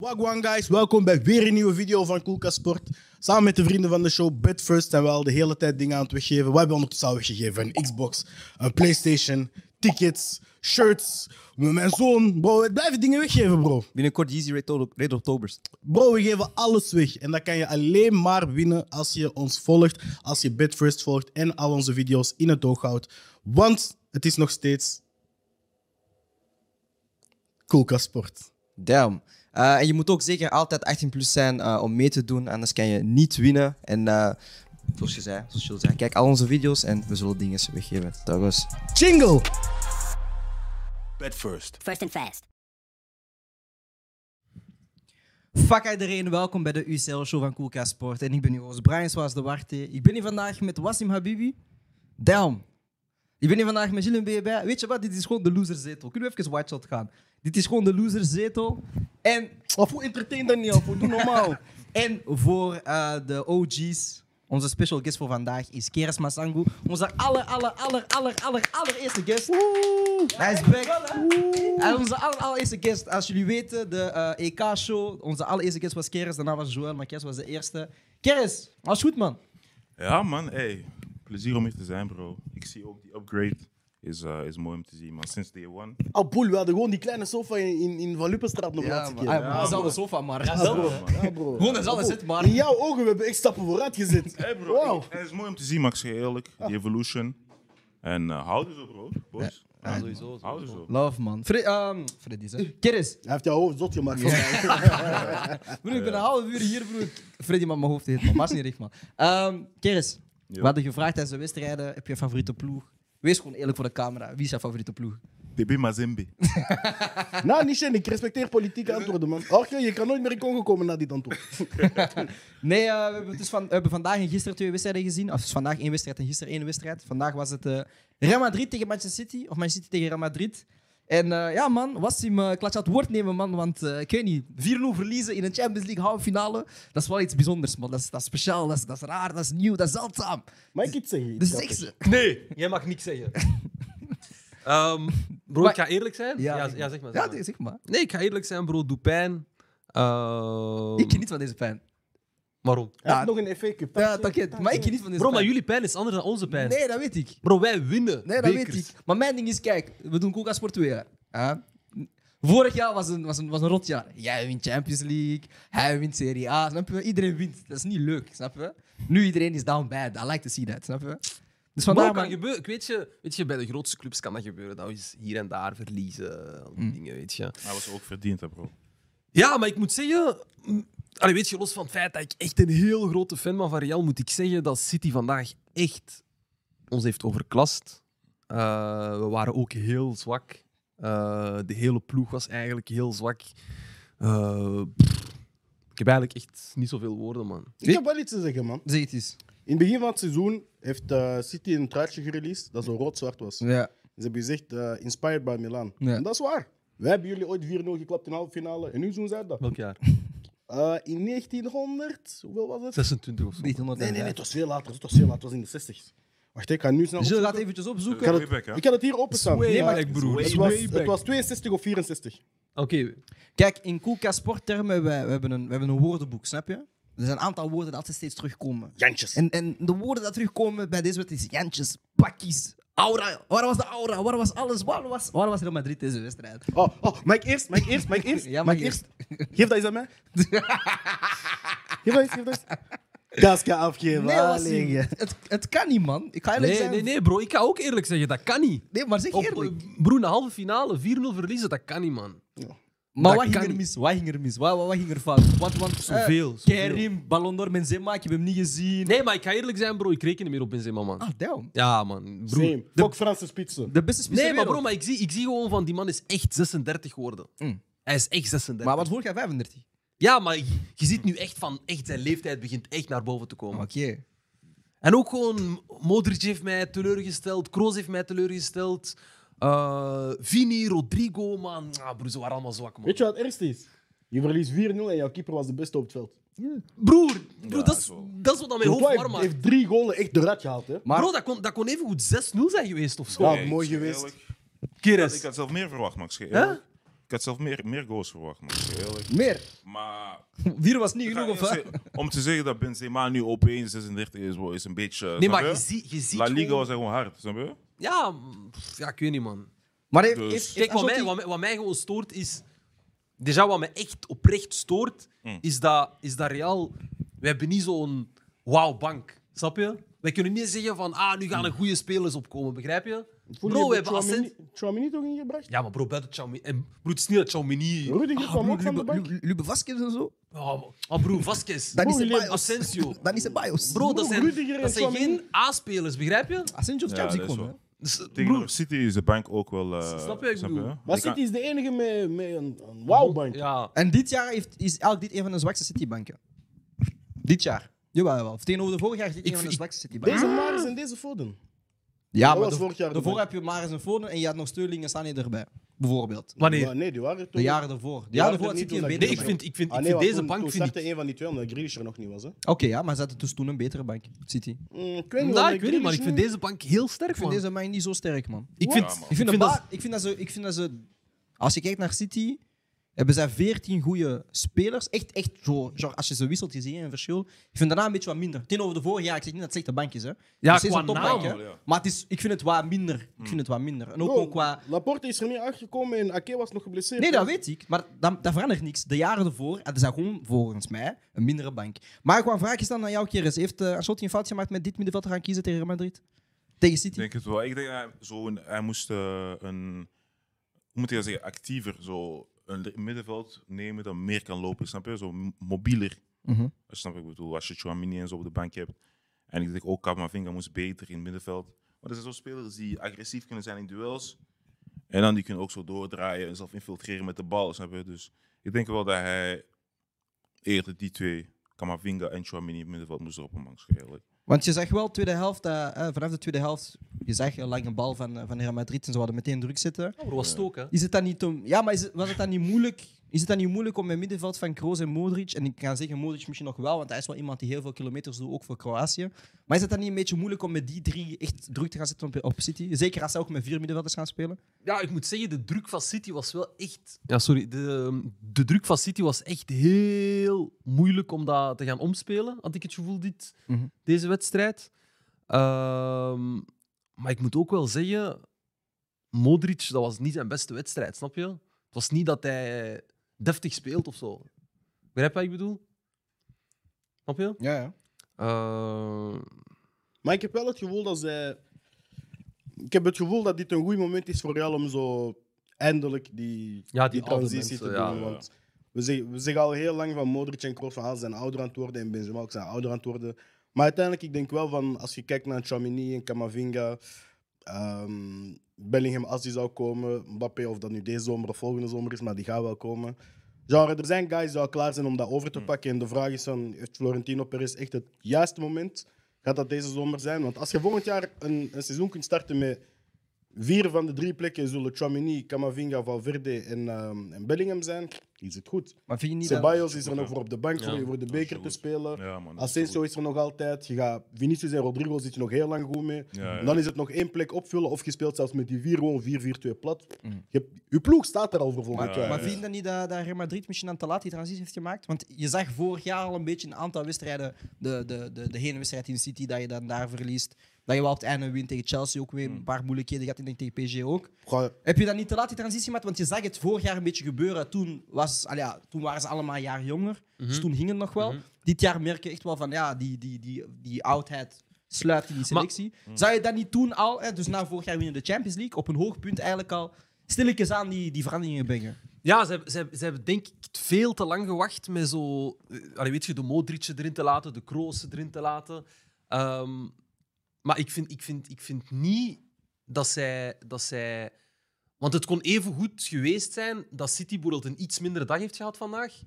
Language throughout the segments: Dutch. Wagwan guys, welkom bij weer een nieuwe video van Koelkast Sport. Samen met de vrienden van de show Bitfirst zijn we al de hele tijd dingen aan het weggeven. We hebben ondertussen al weggegeven een Xbox, een Playstation, tickets, shirts. Mijn zoon, bro, we blijven dingen weggeven bro. Binnenkort Yeezy Red, Oct- Red Octobers. Bro, we geven alles weg. En dat kan je alleen maar winnen als je ons volgt, als je Bitfirst volgt en al onze video's in het oog houdt. Want het is nog steeds Koelkast Sport. Damn. Eh, en je moet ook zeker altijd 18 plus zijn eh, om mee te doen, anders kan je niet winnen. En eh, zoals je zei, zoals je al zei, kijk al onze video's en we zullen dingen weggeven. Dat was. Jingle! Bed first. First and fast. Fuck iedereen, welkom bij de UCL Show van Koelka Sport. En ik ben uw host Brian Swaas de Warte. Ik ben hier vandaag met Wassim Habibi. Damn. Ik ben hier vandaag met Gilles Mbebe. Weet je wat, dit is gewoon de loserzetel. Kunnen we even wide-shot gaan? Dit is gewoon de loserzetel. En, Of hoe entertain dat niet af? Hoe doe normaal? en voor eh, de OG's, onze special guest voor vandaag is Keras Masangu. Onze aller, aller, aller, aller, aller, allereerste guest. Hij is back. Hij is onze aller- allereerste guest. Als jullie weten, de eh, EK-show. Onze allereerste guest was Keres, daarna was Joël, maar Keres was de eerste. Keres, was goed, man. Ja, man, hey. Plezier om hier te zijn, bro. Ik zie ook die upgrade. Is, eh, is mooi om te zien, man. Sinds day one. Oh, boel, we hadden gewoon die kleine sofa in, in, in Van Luppenstraat nog laatste keer. Ah, dat is alles sofa, maar. Ja, bro. Gewoon, dat is alles het, maar. In jouw ogen, we hebben echt stappen vooruit gezet. Hey, bro. Wauw. Het is mooi om te zien, Max. Eerlijk. Ah. Die evolution. En eh houden ze, bro. Boys. Ja, sowieso. Houden ze. Love, man. Fre ehm, Freddy, zeg. Keres, Hij heeft jouw hoofd zot gemaakt. vandaag. broer, ik ben een half uur hier, broer. Freddy, maar mijn hoofd heet, man. Maar is niet recht, man. Ehm Keres, we hadden gevraagd tijdens de wedstrijden: heb je een favoriete ploeg? Wees gewoon eerlijk voor de camera. Wie is jouw favoriete ploeg? DB Mazembe. nou, niet Shen, ik respecteer politieke antwoorden, man. Orke, je kan nooit meer in Congo komen na dit antwoord. Nee, eh, we, hebben dus van, we hebben vandaag en gisteren twee wedstrijden gezien. Of dus vandaag één wedstrijd en gisteren één wedstrijd. Vandaag was het eh, Real Madrid tegen Manchester City. Of Manchester City tegen Real Madrid. En eh, ja, man, was hem uh, klatje aan het woord nemen, man. Want eh, ik weet niet, 4-0 verliezen in een Champions League halve finale. Dat is wel iets bijzonders, man. Dat is, dat is speciaal, dat is, dat is raar, dat is nieuw, dat is zeldzaam. Mag ik iets zeggen? Dus ik ze. Nee, jij mag niks zeggen. Ehm, bro, Maar- ik ga eerlijk zijn. Ja, ja, zeg maar. zeg Ja, maar. zeg maar. Nee, ik ga eerlijk zijn, bro. Doe pijn. Ehm, Ik geniet van deze pijn. Waarom? Hij heeft nog een FA Cup. Ja, dank Maar ik geniet van deze Bro, maar pijn. jullie pijn is anders dan onze pijn. Nee, dat weet ik. Bro, wij winnen. Nee, dat bekers. weet ik. Maar mijn ding is, kijk, we doen Coca Sport 2. hè. Hè? Vorig jaar was een, was, een, was een rot jaar. Jij wint Champions League, hij wint Serie A. Snap je? Iedereen wint. Dat is niet leuk, snap je? Nu iedereen is down bad. I like to see that, snap je? Dus Bro, vandaar, kan man. gebeuren. Ik weet je, weet je, bij de grootste clubs kan dat gebeuren. Dat we eens hier en daar verliezen. al die Mm. Dingen, weet je. Hij was ook verdiend, hè, bro. Ja, maar ik moet zeggen... mm, Allee, weet je, los van het feit dat ik echt een heel grote fan ben van Real, moet ik zeggen dat City vandaag echt ons heeft overklast. Eh, we waren ook heel zwak. Eh, de hele ploeg was eigenlijk heel zwak. Eh, pff, ik heb eigenlijk echt niet zoveel woorden, man. Ik heb wel iets te zeggen, man. Zeg het eens. In het begin van het seizoen heeft eh, City een truitje gereleased dat zo rood-zwart was. Ja. Ze hebben gezegd, eh, inspired by Milan. Ja. En dat is waar. We hebben jullie ooit 4-0 geklapt in de halve finale. En nu doen zij dat. Welk jaar? Eh, in 1900, hoeveel was het? 26 of zo. Niet honderd Nee, nee, nee, en- het was veel later. Het was veel later, het was in de 60. Wacht, ik ga nu snel. Zullen we dat opzoeken. eventjes opzoeken? Ik had Way back, hè? het, ik had het hier openstaan. Way Nee, maar back, broer. Het Way was, back. het was 62 of 64. Oké, Kijk, in Coca Sporttermen, we, we, hebben een, we hebben een woordenboek, snap je? Er zijn een aantal woorden die altijd steeds terugkomen. Jantjes. En, en de woorden die terugkomen bij deze wedstrijd is Jantjes, pakjes, aura. Waar was de aura? Waar was alles? Waar was, waar was Real Madrid deze wedstrijd? Oh, oh, mag ik eerst? Mag ik eerst? Mag ik eerst? Ja, Mag mag ik Geef dat eens aan mij. geef dat eens, geef dat eens. Kaska afgeven. Nee, was alleen, ja. het, het kan niet, man. Ik ga eerlijk Nee, zijn. nee, nee, bro. Ik ga ook eerlijk zeggen, dat kan niet. Nee, maar zeg Op, eerlijk. eh, broer, een halve finale, 4-0 verliezen, dat kan niet, man. Maar dat wat ging kan er niet. mis? Wat ging er mis? Wat, wat, wat ging er fout? Want, want, eh, Zoveel, zoveel. Kerim, Ballon d'Or, Benzema, ik heb hem niet gezien. Nee, maar ik ga eerlijk zijn, bro. Ik reken niet meer op Benzema, man. Ah, damn. Ja, man. Broer. Same. Fuck Franse spitsen. De beste spits Nee, ter maar bro, wereld. maar ik, zie, ik zie gewoon van die man is echt 36 geworden. Mm. Hij is echt 36. Maar wat vorig jaar 35. Ja, maar je, je ziet nu echt van echt zijn leeftijd begint echt naar boven te komen. Ah, Oké. Ah. En ook gewoon, Modric heeft mij teleurgesteld, Kroos heeft mij teleurgesteld, eh, Vini, Rodrigo, man. Ah, broer, ze waren allemaal zwak, man. Weet je wat het ergste is? Je verliest 4-0 en jouw keeper was de beste op het veld. Broer, broer Ja, dat, is, zo. dat is wat aan mijn Courtois hoofd warm heeft, maakt. heeft drie golen echt eruit gehaald, hè? Maar- Bro, dat kon, dat kon evengoed 6-0 zijn Ah, geweest of zo. Ja, Hey, mooi ik zeg geweest. eerlijk, Keres. Ik had zelf meer verwacht, Max. Hè? Eerlijk. Ik had zelf meer, meer goals verwacht, man. Heel eerlijk. Meer. Maar Vier was niet genoeg, Ja, of wat? eerst- om te zeggen dat Benzema nu opeens 36 is, wel- is een beetje... eh, Nee, snap maar je? je, ziet, je ziet La Liga gewoon- was gewoon hard, snap je? Ja, mm, pff, ja, ik weet niet, man. Maar heeft, Dus- heeft, Kijk, heeft wat mij, Ancelotti- wat, mij, wat mij gewoon stoort is. Déjà, wat mij echt oprecht stoort, is, dat, is dat Real. We hebben niet zo'n wauw-bank. Snap je? Wij kunnen niet zeggen van. Ah, nu gaan er goede spelers opkomen, begrijp je? Bro, we hebben Ascent. Chouamini toch ingebracht? Ja, maar bro, buiten Xiaomi. En bro, het is niet dat Xiaomini. Rudiger kwam ook van de bank. Lu- Lube Vasquez en zo? Ah, maar bro, Vasquez. Dan is het Jullie- Bios. Asensio. Dan is het Bios. Bro, dat Rudiger zijn, en dat zijn Tchouaméni. geen A-spelers, begrijp je? Asensio of Ja, Chelsea dat is komen, wel- hè? Dus, eh, Tegen broer, City is de bank ook wel... eh Snap je wat ik bedoel? Je Maar kan- City is de enige met, met een, een wauwbank. Ja. En dit jaar heeft, is elk dit een van de zwakste Citibanken. Dit jaar. Jawel, jawel. Of tegenover de vorig jaar is dit Ik een van de vind- zwakste Citibanken. Deze Maris en deze Foden. Ja, Dat maar was de- vorig jaar de daarvoor bank. heb je Maris en Foden en je had nog Sterling en Sané erbij. Bijvoorbeeld. Wanneer? Maar nee, die waren De toen... jaren daarvoor. De Ja, dat jaren daarvoor had niet City een toen dat betere Nee, ik bank. vind, ik vind, Ah, ik nee, vind want deze toen, bank. toen Vind ik, startte een van die twee, omdat Grealish er nog niet was. Hè? Oké, ja, maar ze hadden dus toen een betere bank, City. Ik Mm, ik weet niet, nou, want ik weet niet, maar ik vind Grealish deze bank heel sterk, vind man. deze bank niet zo sterk, man. Ik Ja, vind, man. Ik vind, dat- dat, ba- ik vind, dat ze, ik vind dat ze. Als je kijkt naar City, hebben zij 14 goede spelers. Echt, echt zo. Genre, als je ze wisselt, je ziet een verschil. Ik vind daarna een beetje wat minder. Tegenover de vorige jaar, ik zeg niet dat het slechte bank is. Hè. Ja, Het is qua een topbank, naam hè. wel, ja. Maar het is, ik vind het wat minder. Ik vind het wat minder. En ook, Oh. Bro, ook qua. Laporte is er niet aangekomen en Ake was nog geblesseerd. Nee, dat weet ik. Maar dat, dat verandert niks. De jaren ervoor hadden zij gewoon, volgens mij, een mindere bank. Maar ik wou een vraagje stellen aan jou, Keres. Heeft eh, Ancelotti een fout gemaakt met dit middenveld te gaan kiezen tegen Real Madrid? Tegen Ik City? denk het wel. Ik denk dat hij, zo een, hij moest eh, een... Hoe moet je dat zeggen? Actiever. Zo een middenveld nemen dat meer kan lopen. Snap je? Zo m- mobieler. Mhm. Als je Snap je wat ik bedoel? Als je Chouamini en zo op de bank hebt. En ik denk ook Kamavinga moest beter in het middenveld. Maar er zijn zo spelers die agressief kunnen zijn in duels. En dan die kunnen ook zo doordraaien en zelf infiltreren met de bal. Snap je? Dus ik denk wel dat hij eerder die twee, Kamavinga en Chouamini, in het middenveld moest droppen. Man, eigenlijk. Want je zag wel tweede helft, eh, eh, vanaf de tweede helft, je zag een lange bal van, eh, van Real Madrid en ze hadden meteen druk zitten. Ja, maar was het ook, hè? Is het dan niet om, ja, maar is het- was het dan niet moeilijk? Is het dan niet moeilijk om met middenveld van Kroos en Modric, en ik kan zeggen Modric misschien nog wel, want hij is wel iemand die heel veel kilometers doet, ook voor Kroatië. Maar is het dan niet een beetje moeilijk om met die drie echt druk te gaan zetten op, op City? Zeker als ze ook met vier middenvelders gaan spelen. Ja, ik moet zeggen, de druk van City was wel echt. Ja, sorry. De, ehm, de druk van City was echt heel moeilijk om dat te gaan omspelen. Had ik het gevoel, dit, Mhm. deze wedstrijd. Ehm, maar ik moet ook wel zeggen, Modric, dat was niet zijn beste wedstrijd, snap je? Het was niet dat hij deftig speelt of zo. Begrijp je wat ik bedoel? Snap je? Ja, ja. Ehm, Maar ik heb wel het gevoel dat zij... Ik heb het gevoel dat dit een goed moment is voor Real om zo eindelijk die, Ja, die oude transitie mensen, te ja, doen. ja. Want we zeggen, we zeggen al heel lang van Modric en Kroos van ah, ze zijn ouder aan het worden en Benzema ook zijn ouder aan het worden. Maar uiteindelijk, ik denk wel van als je kijkt naar Chamini en Camavinga, ehm, Bellingham als die zou komen, Mbappé of dat nu deze zomer of volgende zomer is, maar die gaat wel komen. Genre, er zijn guys die al klaar zijn om dat over te pakken. En de vraag is dan, heeft Florentino Perez echt het juiste moment? Gaat dat deze zomer zijn? Want als je volgend jaar een, een seizoen kunt starten met vier van de drie plekken zullen Chouamini, Camavinga, Valverde en, ehm, en Bellingham zijn, is het goed. Maar vind je niet dat... Ceballos is er nog voor op de bank voor, voor de beker te goed. spelen. Ja, man, dat is Asensio is er nog altijd. Je gaat Vinicius en Rodrigo zit je nog heel lang goed mee. Ja, ja. En dan is het nog één plek opvullen of je speelt zelfs met die vier gewoon 4-4-2 plat. Mm. Je, hebt- je ploeg staat er al voor volgend jaar. Maar vind je dan niet dat, dat Real Madrid misschien aan te laat die transitie heeft gemaakt? Want je zag vorig jaar al een beetje een aantal wedstrijden, de, de, de, de hele wedstrijd in City, dat je dan daar verliest. Dat je wel op het einde wint tegen Chelsea ook weer een paar moeilijkheden gaat en denk ik tegen PSG ook. Goh, Heb je dan niet te laat die transitie gemaakt? Want je zag het vorig jaar een beetje gebeuren. Toen, was, al ja, toen waren ze allemaal een jaar jonger. Dus toen ging het nog wel. Dit jaar merk je echt wel van ja, die, die, die, die oudheid sluit in die selectie. Zou je dat niet toen al, hè, dus na vorig jaar winnen de Champions League, op een hoog punt eigenlijk al stilletjes aan die, die veranderingen brengen? Ja, ze, hebben- ze, hebben- ze hebben denk ik veel te lang gewacht met zo... eh, Allee, weet je, de Modric erin te laten, de Kroos erin te laten. Ehm, maar ik vind, ik, vind, ik vind niet dat zij, dat zij... Want het kon even goed geweest zijn dat City bijvoorbeeld een iets mindere dag heeft gehad vandaag.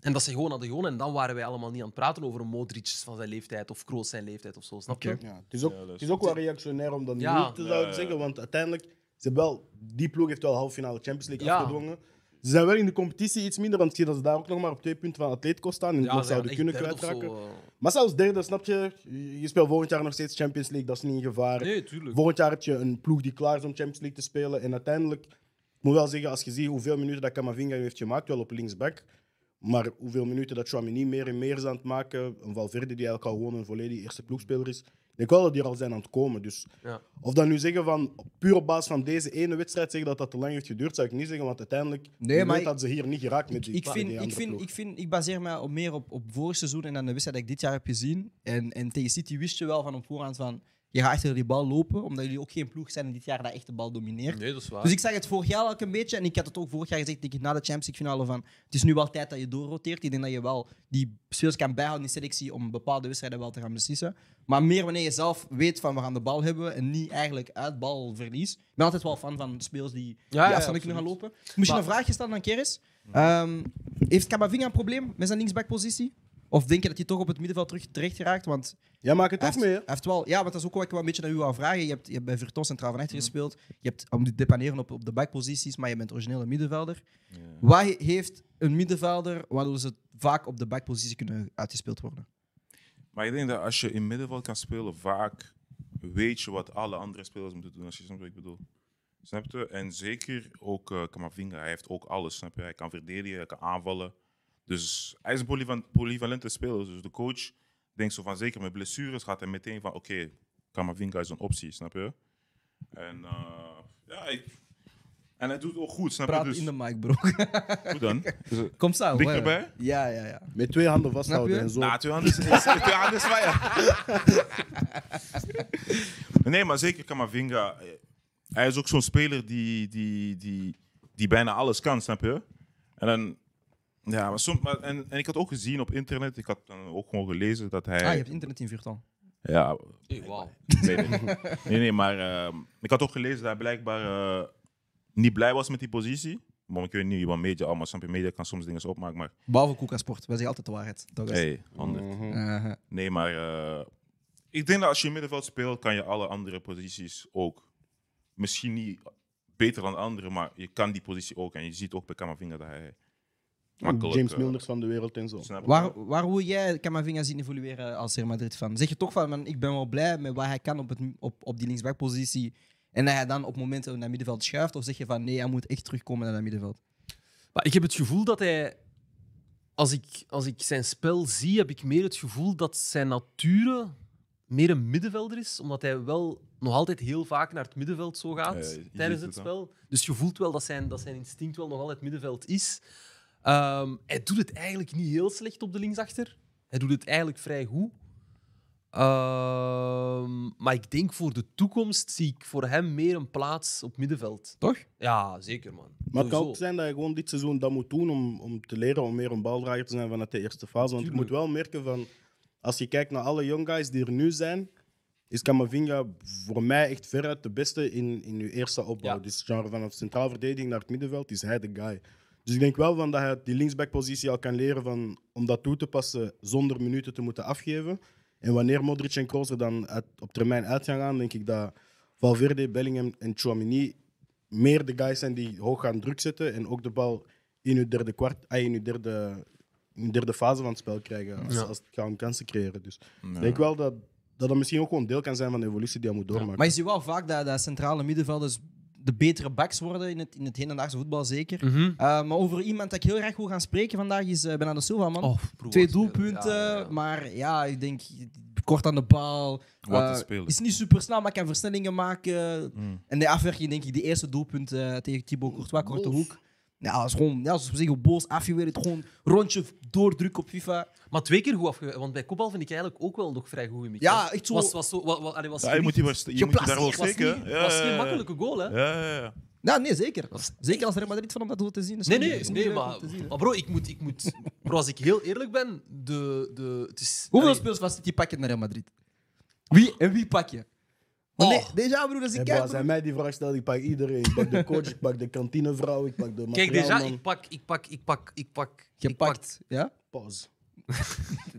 En dat ze gewoon hadden gewonnen. En dan waren wij allemaal niet aan het praten over een Modric van zijn leeftijd of Kroos zijn leeftijd of zo. Snap je? ja, het, is ook, Ja, dat is- het is ook wel reactionair om dat Ja. niet te zouden Ja, ja. zeggen, want uiteindelijk, ze hebben wel, die ploeg heeft wel halve finale Champions League Ja. afgedwongen. Ze zijn wel in de competitie iets minder, want ik zie dat ze daar ook nog maar op twee punten van Atletico staan en het nog ze zouden gaan kunnen echt derde of kwijtraken. zo, eh. Maar zelfs derde, snap je? Je speelt volgend jaar nog steeds Champions League, dat is niet in gevaar. Nee, tuurlijk. Volgend jaar heb je een ploeg die klaar is om Champions League te spelen. En uiteindelijk, Ik moet wel zeggen, als je ziet hoeveel minuten dat Camavinga heeft gemaakt, wel op linksback, maar hoeveel minuten dat Chouamini meer en meer is aan het maken, een Valverde die eigenlijk al gewoon een volledige eerste ploegspeler is, ik denk wel dat die er al zijn aan het komen. Dus Ja. of dan nu zeggen van, puur op basis van deze ene wedstrijd, zeggen dat dat te lang heeft geduurd, zou ik niet zeggen, want uiteindelijk Nee, je maar weet ik- dat ze hier niet geraakt met die, Ik met die vind, ik, andere vind, ploeg. ik, vind, ik baseer me op meer op, op vorig seizoen en dan de wedstrijd die ik dit jaar heb gezien. En, en tegen City wist je wel van op voorhand van... Je gaat achter die bal lopen, omdat jullie ook geen ploeg zijn en dit jaar dat echt de bal domineert. Nee, dat is waar. Dus ik zag het vorig jaar ook een beetje. En ik had het ook vorig jaar gezegd denk ik, na de Champions League finale van... Het is nu wel tijd dat je doorroteert. Ik denk dat je wel die spelers kan bijhouden in selectie om bepaalde wedstrijden wel te gaan beslissen. Maar meer wanneer je zelf weet van we gaan de bal hebben en niet eigenlijk uit balverlies. Ik ben altijd wel fan van spelers die, ja, die afstanden kunnen gaan absoluut. lopen. Misschien Maar- een vraagje stellen aan Keres. Ehm, heeft Camavinga een probleem met zijn linksbackpositie? Of denk je dat hij toch op het middenveld terug terecht geraakt? Want Jij maakt het hij ook heeft, mee, hè? hij heeft wel, ja, want dat is ook wat ik wel een beetje naar u wou vragen. Je hebt, je hebt bij Verton Centraal van Echter gespeeld. Je hebt om te depaneren op, op de backposities, maar je bent originele middenvelder. Wat he- heeft een middenvelder waardoor ze vaak op de backpositie kunnen uitgespeeld worden? Maar ik denk dat als je in middenveld kan spelen, vaak weet je wat alle andere spelers moeten doen. Als je snapt wat ik bedoel. Snap je? En zeker ook eh Kamavinga, hij heeft ook alles. Snap je? Hij kan verdedigen, hij kan aanvallen. Dus hij is een polyvan- polyvalente speler. Dus de coach denkt zo van, zeker met blessures gaat hij meteen van, oké, Kamavinga is een optie, snap je? En eh, ja, ik... En hij doet het ook goed, snap Praat je? Dus in de mic, bro. goed dan. Dus, Kom staan. Dichterbij? Ja, ja, Ah, ja. Met twee handen vasthouden en Snap je? zo. Nou, twee handen is- is- twee handen is fire. nee, maar zeker Kamavinga. eh, Hij is ook zo'n speler die, die, die, die bijna alles kan, snap je? En dan... Ja, maar soms, maar, en, en ik had ook gezien op internet, ik had dan ook gewoon gelezen dat hij... Ah, je hebt internet in Verton. Ja, Hey, wauw. nee, nee. nee, nee, maar ehm, ik had ook gelezen dat hij blijkbaar eh, niet blij was met die positie. Maar ik weet niet, want media allemaal, snap je, media kan soms dingen opmaken, maar... Behalve Koeka Sport. Wij zeggen altijd de waarheid. Dat Dus- is- Hey, honderd. Mhm. Aha. Nee, maar eh, ik denk dat als je in middenveld speelt, kan je alle andere posities ook. Misschien niet beter dan anderen, maar je kan die positie ook. En je ziet ook bij Camavinga dat hij makkelijk... James eh, Milners van de wereld en zo. snap je? Waar, waar wil jij Camavinga zien evolueren als Real Madrid fan? Zeg je toch van, man, ik ben wel blij met wat hij kan op, het, op, op die linksbackpositie en dat hij dan op momenten naar middenveld schuift? Of zeg je van, nee, hij moet echt terugkomen naar dat middenveld? Maar ik heb het gevoel dat hij. Als ik, als ik zijn spel zie, heb ik meer het gevoel dat zijn nature meer een middenvelder is. Omdat hij wel nog altijd heel vaak naar het middenveld zo Ja, gaat je ziet tijdens het, het hè. spel. Dus je voelt wel dat zijn, dat zijn instinct wel nog altijd middenveld is. Ehm, hij doet het eigenlijk niet heel slecht op de linksachter. Hij doet het eigenlijk vrij goed. Ehm, maar ik denk voor de toekomst zie ik voor hem meer een plaats op middenveld. Toch? Ja, zeker man. Maar het kan ook Sowieso. zijn dat je gewoon dit seizoen dat moet doen om, om te leren om meer een baldrager te zijn vanuit de eerste fase. Want je moet Tuurlijk. wel merken van, als je kijkt naar alle young guys die er nu zijn, is Camavinga voor mij echt veruit de beste in, in je eerste opbouw. Ja. Dus genre vanaf centraal verdediging naar het middenveld is hij de guy. Dus ik denk wel van dat hij die linksbackpositie al kan leren van, om dat toe te passen zonder minuten te moeten afgeven. En wanneer Modric en Kroos er dan uit- op termijn uit gaan gaan, denk ik dat Valverde, Bellingham en Chouamini meer de guys zijn die hoog gaan druk zetten en ook de bal in hun derde kwart, ah, in hun derde, in hun derde fase van het spel krijgen als, Ja. als het gaat om kansen creëren. Dus ik denk wel dat, dat dat misschien ook gewoon deel kan zijn van de evolutie die hij moet doormaken. Maar je ziet wel vaak dat, dat centrale middenvelders de betere backs worden in het, in het hedendaagse voetbal, zeker. Mhm. Eh, maar over iemand dat ik heel graag wil gaan spreken vandaag is eh Bernardo Silva, man. Oh, broer, Twee wat een speler. doelpunten, Ja, ja, ja. maar ja, ik denk kort aan de bal. Wat een Eh, speler. Is niet super snel, maar kan versnellingen maken. Hmm. En de afwerking, denk ik, de eerste doelpunt eh, tegen Thibaut Courtois, korte hoek. Ja, dat is gewoon, ja, zoals we zeggen, boos, afgewerkt. Gewoon rondje doordruk op FIFA. Maar twee keer goed afgewerkt. Want bij kopbal vind ik eigenlijk ook wel nog vrij goed gemikt. Ja, hè. echt zo- Was, was zo wa- wa- allee, was Ja, je moet, die, wel- je moet je daar wel geplaceerd, was steken. niet- hè? Ja, was ja, geen ja. makkelijke goal, hè? Ja, ja, ja. Ja, nee, zeker. Zeker als Real Madrid van om dat doel te zien. is Nee, niet- nee, is niet nee leuk om maar, te zien, hè. maar bro, ik moet, ik moet... Bro, als ik heel eerlijk ben, de... de het is, Hoeveel allee, spelers van City pak je naar Real Madrid? Wie en wie pak je? Want Oh. nee, Deja, broer, als ik Hey, kijk... bro, als hij mij die vraag stelt, ik pak iedereen. Ik pak de coach, ik pak de kantinevrouw, ik pak de Kijk, déjà, materiaalman. ik pak, ik pak, ik pak, ik pak... Je ik pak- pakt, ja? Pause.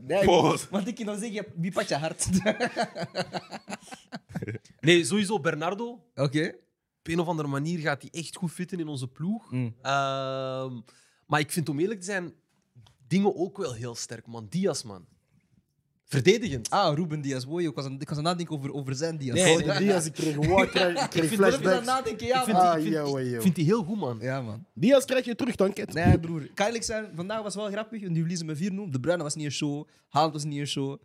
Nee, Pause. want ik kan dan zeggen, wie pakt je hart? Nee, sowieso Bernardo. Oké. Op een of andere manier gaat hij echt goed fitten in onze ploeg. Mm. Ehm, maar ik vind, om eerlijk te zijn, dingen ook wel heel sterk, man. Diaz, man. Verdedigend. Ah, Ruben Diaz. Wow, ik was aan, ik was aan het nadenken over, over zijn Diaz. Oh, Nee, ik nee. vind Diaz, ik kreeg, wow, ik kreeg, ik kreeg dat ik aan het flashbacks. nadenken, ja, Ik vind, man. Ah, die, ik vind, yo, ik yo. vind die heel goed, man. Ja, man. Diaz krijg je terug, dank het. Nee, broer. Kan eerlijk zijn, vandaag was wel grappig. Nu verliezen met 4 0. De Bruyne was niet een show. Haaland was niet een show.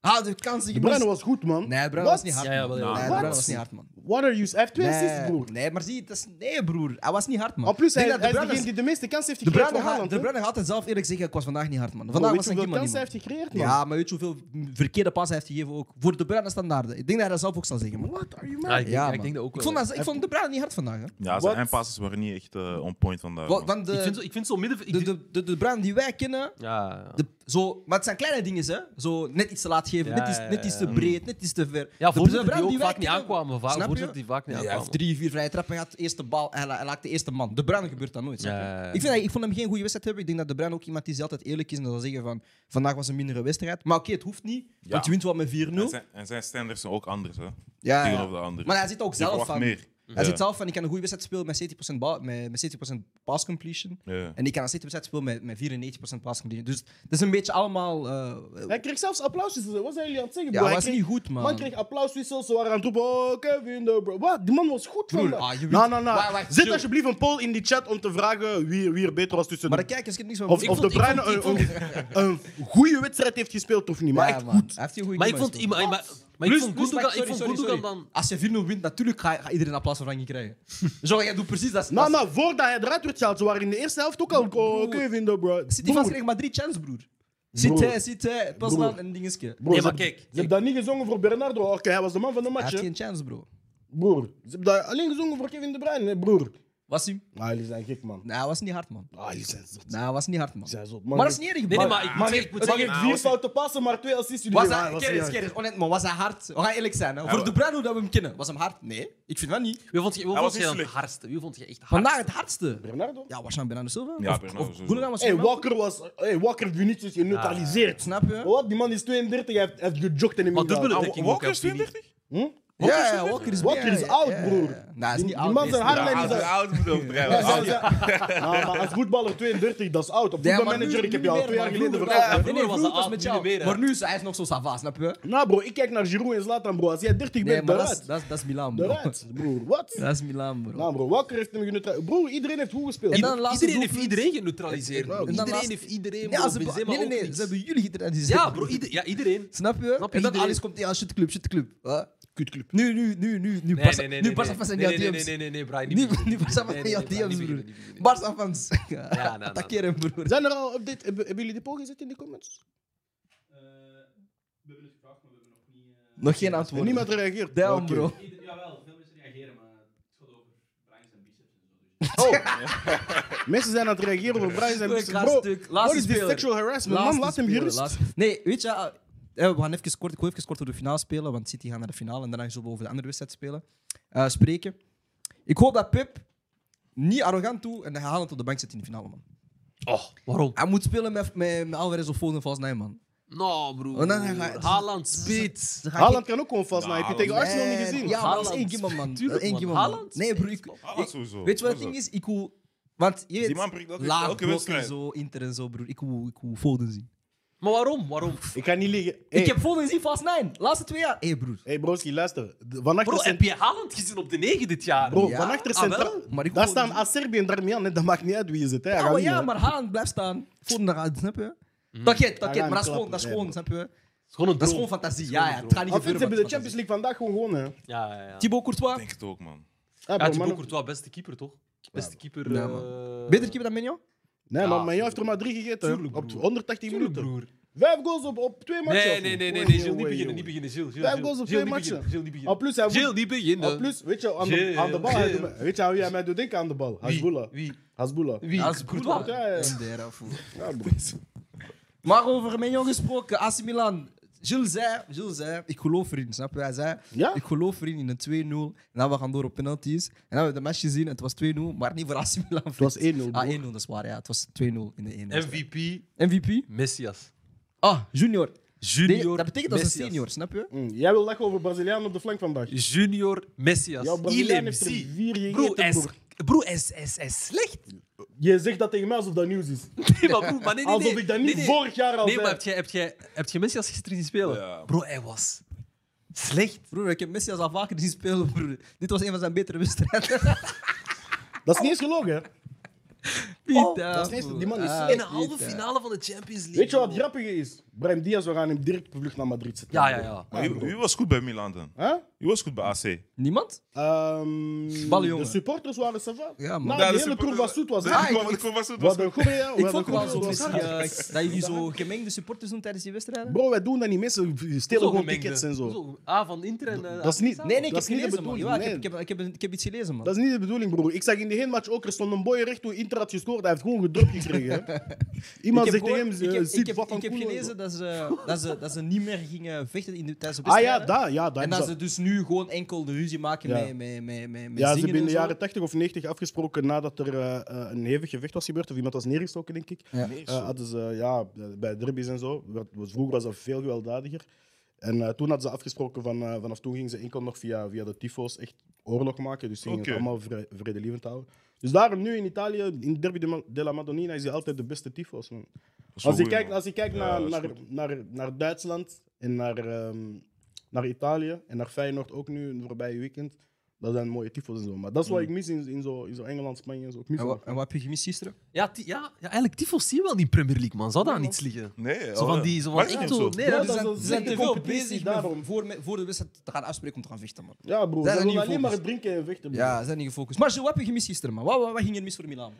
Haaland heeft kansen De gemist. Bruine was goed, man. Nee, de Bruyne Wat? was niet hard. Ja, ja, man. wel, ja, Nee, de wel. Wat? Bruyne was niet hard, man. What are you? Hij heeft twee assists, Nee, broer. nee, maar zie, dat is, nee, broer. Hij was niet hard, man. En plus, Ik hij, denk hij dat de is Bruyne degene die de meeste kansen heeft De gecreëerd Bruyne van gaat, Haaland. de hè? Bruyne gaat het zelf eerlijk zeggen, ik was vandaag niet hard, man. Bro, Vandaag Weet was je ik hoeveel iemand kansen niet, hij man. heeft gecreëerd, man? Ja, maar weet je hoeveel mm, verkeerde pas hij heeft gegeven ook? Voor de Bruyne standaarden. Ik denk dat hij dat zelf ook zal zeggen, man. What are you, Ja, man? ik, denk- Ja, ik man. denk dat Ik ook wel. vond, dat- ik vond de Bruyne niet hard vandaag, hè. Ja, Wat? zijn passes waren niet echt eh, on point vandaag. Wa- man. Want Ik vind, zo, de, ik vind zo midden... ik- de, de, de, de Bruyne die wij kennen, ja, ja. De, zo, maar het zijn kleine dingen, hè? Zo net iets te laat geven, Ja, net, iets, ja, net iets te ja. Mm. breed, net iets te ver. ja, de voorzitter Bruyne die ook wij vaak niet kennen- aankwamen. Snap Va- je? Voorzitter die vaak niet Ja, hij heeft aankwamen. drie, vier vrije trappen gehad, eerste bal, hij, la- hij laakt de eerste man. De Bruyne gebeurt dat nooit. snap je? Ja, ja, ja. Ik, vind, dat- ik vond hem geen goede wedstrijd hebben. Ik denk dat De Bruyne ook iemand is die altijd eerlijk is en dat zal zeggen van vandaag was een mindere wedstrijd. Maar oké, het hoeft niet, want je wint wel met 4-0. En zijn, en zijn standards zijn ook anders, hè? Ja, ja. Tegenover de anderen. Maar hij zit ook Je zelf verwacht van. meer. Hij Ja. zit zelf van, ik kan een goede wedstrijd spelen met 70%, bal, met, met 70% pass completion. Ja. En ik kan een 70% spelen met, met 94% pass completion. Dus het is een beetje allemaal eh, Hij kreeg zelfs applausjes. Wat zijn jullie aan het zeggen, bro? Ja, hij Hij was kreeg- niet goed, man. Man kreeg applauswissels, ze waren aan het roepen, oh, Kevin de Bro. Wat? Die man was goed Broer, van ah, je weet- Nou, nou, Wacht, nou. wacht, Zet chill. alsjeblieft een poll in die chat om te vragen wie, wie er beter was tussen... Maar de kijkers kunnen niks van of, Ik of vond- de ik Bruine vond- ik een, vond- een, een goede wedstrijd heeft gespeeld of niet, maar Ja, echt man. goed. Hij heeft hier goede Maar ik nummers vond, gespeeld. maar, maar, maar ik Plus- vond plus, Gundogan- wacht, ik sorry, vond sorry, Gundogan sorry. dan... Als je 4-0 wint, natuurlijk ga, ga iedereen applaus van je krijgen. Zo, jij doet precies dat. Nou, maar voordat hij eruit werd gehaald, ze waren in de eerste helft ook al... Oh, Kevin de Bro. City Broer, fans krijgen maar drie chances, broer. Zit hij, zit hij, Poznan en dingetje. broer, Nee, maar ze- kijk, Ze hebben dat niet gezongen voor Bernardo. Oké, hij was de man van de Hij match, had hè. geen chance, bro. Broer, ze hebben dat alleen gezongen voor Kevin de Bruyne, hè, broer. Was hij? Ah, jullie zijn gek, man. Nee, hij was niet hard, man. Ah, jullie zijn zot. Nee, hij was niet hard, man. Jullie zijn zot. Maar dat is niet erg, Nee, bro. nee, maar ik moet Maar zeggen- ik ik moet zeggen... vier fouten passen, maar twee assists. jullie Was doen. Ah, hij, Keris, niet Keris, honnête, man, was hij hard? We gaan eerlijk zijn, hè. wa- Voor de Bruyne dat we hem kennen, was hem hard? Nee, ik vind wel niet. Wie vond je, wie Hij vond was niet je dan het slecht. hardste? Wie vond je echt hard? Vandaag het hardste. uit. Bernardo? Ja, waarschijnlijk Bernardo Silva. Ja, Of- Bernardo of sowieso. Gundogan was Hey, goed, man. Walker was... Hey, Walker Vinicius is geneutraliseerd. Snap je? Wat? Die man is 32, hij heeft, heeft gejokt en hem Maar dubbele ingehaald. dekking ook, Walker hè, is op die 32? Hm? Ja, ja, Walker is Walker is ja, oud, ja, ja, ja. broer. Nou, hij is Die- niet die oud. man hij zijn is- Haarlem is Oud- dat- oud moet Ja, overdrijven. ja, Oud, ja. ja. Ah, maar als voetballer 32, dat is oud. Op Ja, maar voetbalmanager, nu ik heb jou niet al meer, twee jaar maar geleden vroeger verteld. wel. hè. Nee, Ja, nee, vroeger vroeger was dat was met oud, jou. nu niet meer, hè. Maar nu is hij is nog zo sava, snap je? Nou bro, ik kijk naar Giroud en Zlatan bro. Als jij 30 Nee, bent, maar dat is, daaruit. dat, is, dat is Milan, bro. Daaruit, broer. Wat? Dat is Milan, bro. Nou bro, Walker heeft hem geneutraliseerd. Broer, iedereen heeft goed gespeeld. En dan laatste Iedereen heeft doelpunt. iedereen geneutraliseerd. En bro. dan Iedereen laatste- heeft iedereen... Ja, bro. ze Benzema hebben, nee, nee, ook nee, niks. ze hebben jullie gedaan. Ja, bro. ieder- Ja, iedereen. Snap je? Snap je, en dan iedereen- alles komt, ja, shitclub, shitclub. Huh? Kutclub. Nu, nu, nu, nu, nu, Nee, Barca- nee, nee. nu nee, Barca nee. fans zijn jouw Nee, nee, DM's. nee, nee, nee, nee, Brian. Nu, niet beginnen. nu Barca Nee, fans nee, zijn jouw nee, Brian, DM's, niet broer. beginnen, niet beginnen. Barca fans. nou, nou. Attaqueer hem, broer. Zijn er al update? Hebben hebben jullie de poll gezet in de comments? Nog geen En antwoord. niemand reageert. Damn, Oké. bro. Oh. Mensen zijn aan het reageren op Brian zijn Bro, bro, laatste stuk, What laatste is this speler. sexual harassment? Laatste Man, laat hem speler, gerust. laatste- Nee, weet je, eh, eh, we gaan even kort, ik wil even kort door de finale spelen, want City gaan naar de finale en daarna zullen we over de andere wedstrijd spelen, eh, spreken. Ik hoop dat Pep niet arrogant toe en dat hij Haaland op de bank zet in de finale, man. Oh, waarom? Hij moet spelen met, met, met Alvarez of Foden volgens mij, man. Nou, broer. Want dan ga je- Haaland, spits. Ze gaan Haaland kan ook gewoon vastnijpen. Nou, Heb je tegen geen- Arsenal niet Nee, gezien? Ja, maar dat is Haaland. één keer, man. Tuurlijk, Eén man. keer, man. Haaland? Nee, broer, ik... Haaland ik- Ah, sowieso. Weet je wat het Sowieso. ding is? Ik wil... Want je weet, Die man prikt elke- laag elke blok en wedstrijd. zo, Inter en zo, broer. Ik wil, ik wil Foden zien. Maar waarom? Waarom? Ik ga niet liggen. Ik Hey, heb Foden gezien vast 9, laatste twee jaar. Hé, broer. hey broski, luister. De- Vannacht Bro, is heb je Haaland gezien op de 9 dit jaar? Bro, Ja, vannacht is ah, centraal. wel, maar ik Daar hoor staan niet. Acerbi en Darmian. hè. Dat maakt niet uit wie je zit. Hè. Hij Ja, gaat maar, winnen, ja, hè. maar Haaland blijft staan. Voor naar uit, snap je? Taket, Hij taket, gaat maar dat is hem gewoon, dat is klappen, gewoon, snap je? is gewoon een Dat is droom. gewoon fantasie. gewoon Ja, ja, een het gaat niet Al vindt ze hebben gebeuren. maar de het is Champions League vandaag gewoon gewonnen. hè. Ja, ja, ja. fantasie. Thibaut Ik Courtois, denk het ook, man. Ah, Ja, bro, Thibaut man. Courtois, beste keeper, toch? Beste keeper... Ja, eh, beter keeper dan Mignon? Nee, man, Ja, maar jij heeft er maar drie gegeten. hè. Tuurlijk, Op broer. 180 Tuurlijk, minuten. broer. Vijf goals op, op twee matchen. Nee, of nee, niet? nee, nee, Oei, nee, Gilles, niet oei, beginnen, oei. niet beginnen, Gilles. Gilles, Vijf Gilles, goals op Gilles, twee niet beginnen, matchen. Gilles, niet Al beginnen. plus, hij Gilles, moet- niet beginnen. al plus, weet je, aan de, Gilles. aan de bal, hij doet me- weet je hoe jij mij doet denken aan de bal? Hasbullah. Wie? Hasbullah. Wie? Als Ja, Courtois. ja, ja. En daar af, hoor. Ja, bro. Maar over Mignon gesproken, AC Milan. Gilles zei, Gilles zei, ik geloof erin, snap je? Hij zei, Ja? ik geloof erin in een 2-0. En dan we gaan door op penalties. En dan hebben we de match gezien, het was 2-0, maar niet voor AC Milan. Het was 1-0, Ah, broer. 1-0, dat is waar, ja. Het was 2-0 in de 1 MVP, MVP? Messias. Ah, junior. Junior Nee, dat betekent dat is een Messias. senior, snap je? Mm, Jij wil lachen over Braziliaan op de flank vandaag. Junior Messias. Jouw Il Braziliaan heeft er MC. vier Bro, gegeten, hij is, broer. bro, hij is, hij is, hij is slecht. Jij zegt dat tegen mij alsof dat nieuws is. Nee, maar broer, maar nee, nee, Alsof nee. ik dat niet Nee, nee. vorig jaar al Nee, zei. maar heb jij, heb jij, heb jij Messi als gisteren zien spelen? Ja. Bro, hij was slecht. Broer, ik heb Messi al vaker zien spelen, broer. Dit was een van zijn betere wedstrijden. Dat is niet eens gelogen, hè? Oh, dat is Ah, niet eens- die man is In de slecht. Ah, halve finale van de Champions League. Weet je wat het bro. grappige is? Brahim Diaz, we gaan hem direct op vlucht naar Madrid zetten. Ja, ja, ja. Ah, Maar wie- wie was goed bij Milan dan? Huh? Wie was goed bij Ah, AC? Niemand? Oh, Ehm, Ballenjongen. de supporters waren sava. Ja, man. Nou, Ja, de de hele supporters- crew was zoet. Was Ah, De goed. hele crew was zoet, We was hadden een goede... ja, we Ik hadden vond wel zo goede- Messi, was eh, goed. dat jullie zo gemengde supporters doen tijdens die wedstrijden. Bro, wij doen dat niet. Mensen stelen Zo gewoon gemengde. tickets en zo. Ah, van Inter en... eh, Dat is niet... Atletico. Nee, nee, ik dat heb is niet de gelezen, man. bedoeling. Ja, ik, heb, nee. ik, heb, ik, heb, ik heb iets gelezen, man. Dat is niet de bedoeling, broer. Ik zag in de hele match ook, er stond een boy recht hoe Inter had gescoord. Hij heeft gewoon gedrukt gekregen. hè. Ik Iemand heb zegt tegen gehoord- hem, ik eh, heb- ziet ik heb- wat Ik heb gelezen dat ze, eh, dat, ze, dat ze niet meer gingen vechten in de, tijdens de Ah ja, wedstrijden. dat. Ja, dat En hebben dat ze- ze dus nu gewoon enkel de ruzie maken Ja. met, met, met, met, met Ja, ze zingen hebben in en de zo. jaren 80 of 90 afgesproken nadat er eh, eh, een hevig gevecht was gebeurd, of iemand was neergestoken, denk ik. Ja. Eh, hadden ze, eh, ja, bij derbies en zo. werd- was- vroeger was dat veel gewelddadiger. En eh, toen hadden ze afgesproken, van, eh, vanaf toen gingen ze enkel nog via, via de tyfo's echt oorlog maken. Dus ze gingen Oké. het allemaal vre- vredelievend houden. Dus daarom nu in Italië, in Derby de Ma- della Madonnina, is hij altijd de beste tyfo's. Man. is wel Als je goed, kijkt, man. als je kijkt Ja, naar, dat is naar, goed. naar, naar Duitsland en naar, ehm, naar Italië en naar Feyenoord ook nu in het voorbije weekend, dat zijn mooie tyfels en zo. Maar dat is Mm. wat ik mis in, in zo, in zo Engeland, Spanje en zo. Ik mis En dat. wat, en wat heb je gemist gisteren? Ja, ti- ja, ja, eigenlijk, tyfos zien we wel niet in Premier League, man. Zou daar niets liggen? Nee, Zo van ja. die... Zo van Mag niet echt zo. zo. Nee, Ja, dat dat is... is- Ze Ze zijn zijn te veel competitie bezig daarom. met, voor, met, voor de wedstrijd te gaan afspreken om te gaan vechten, man. Ja, bro. Zijn Ze er willen niet alleen maar focus? drinken en vechten. bro. Ja, ze zijn niet gefocust. Maar zo, wat heb je gemist gisteren, man? Wat, wat, wat ging er mis voor Milan?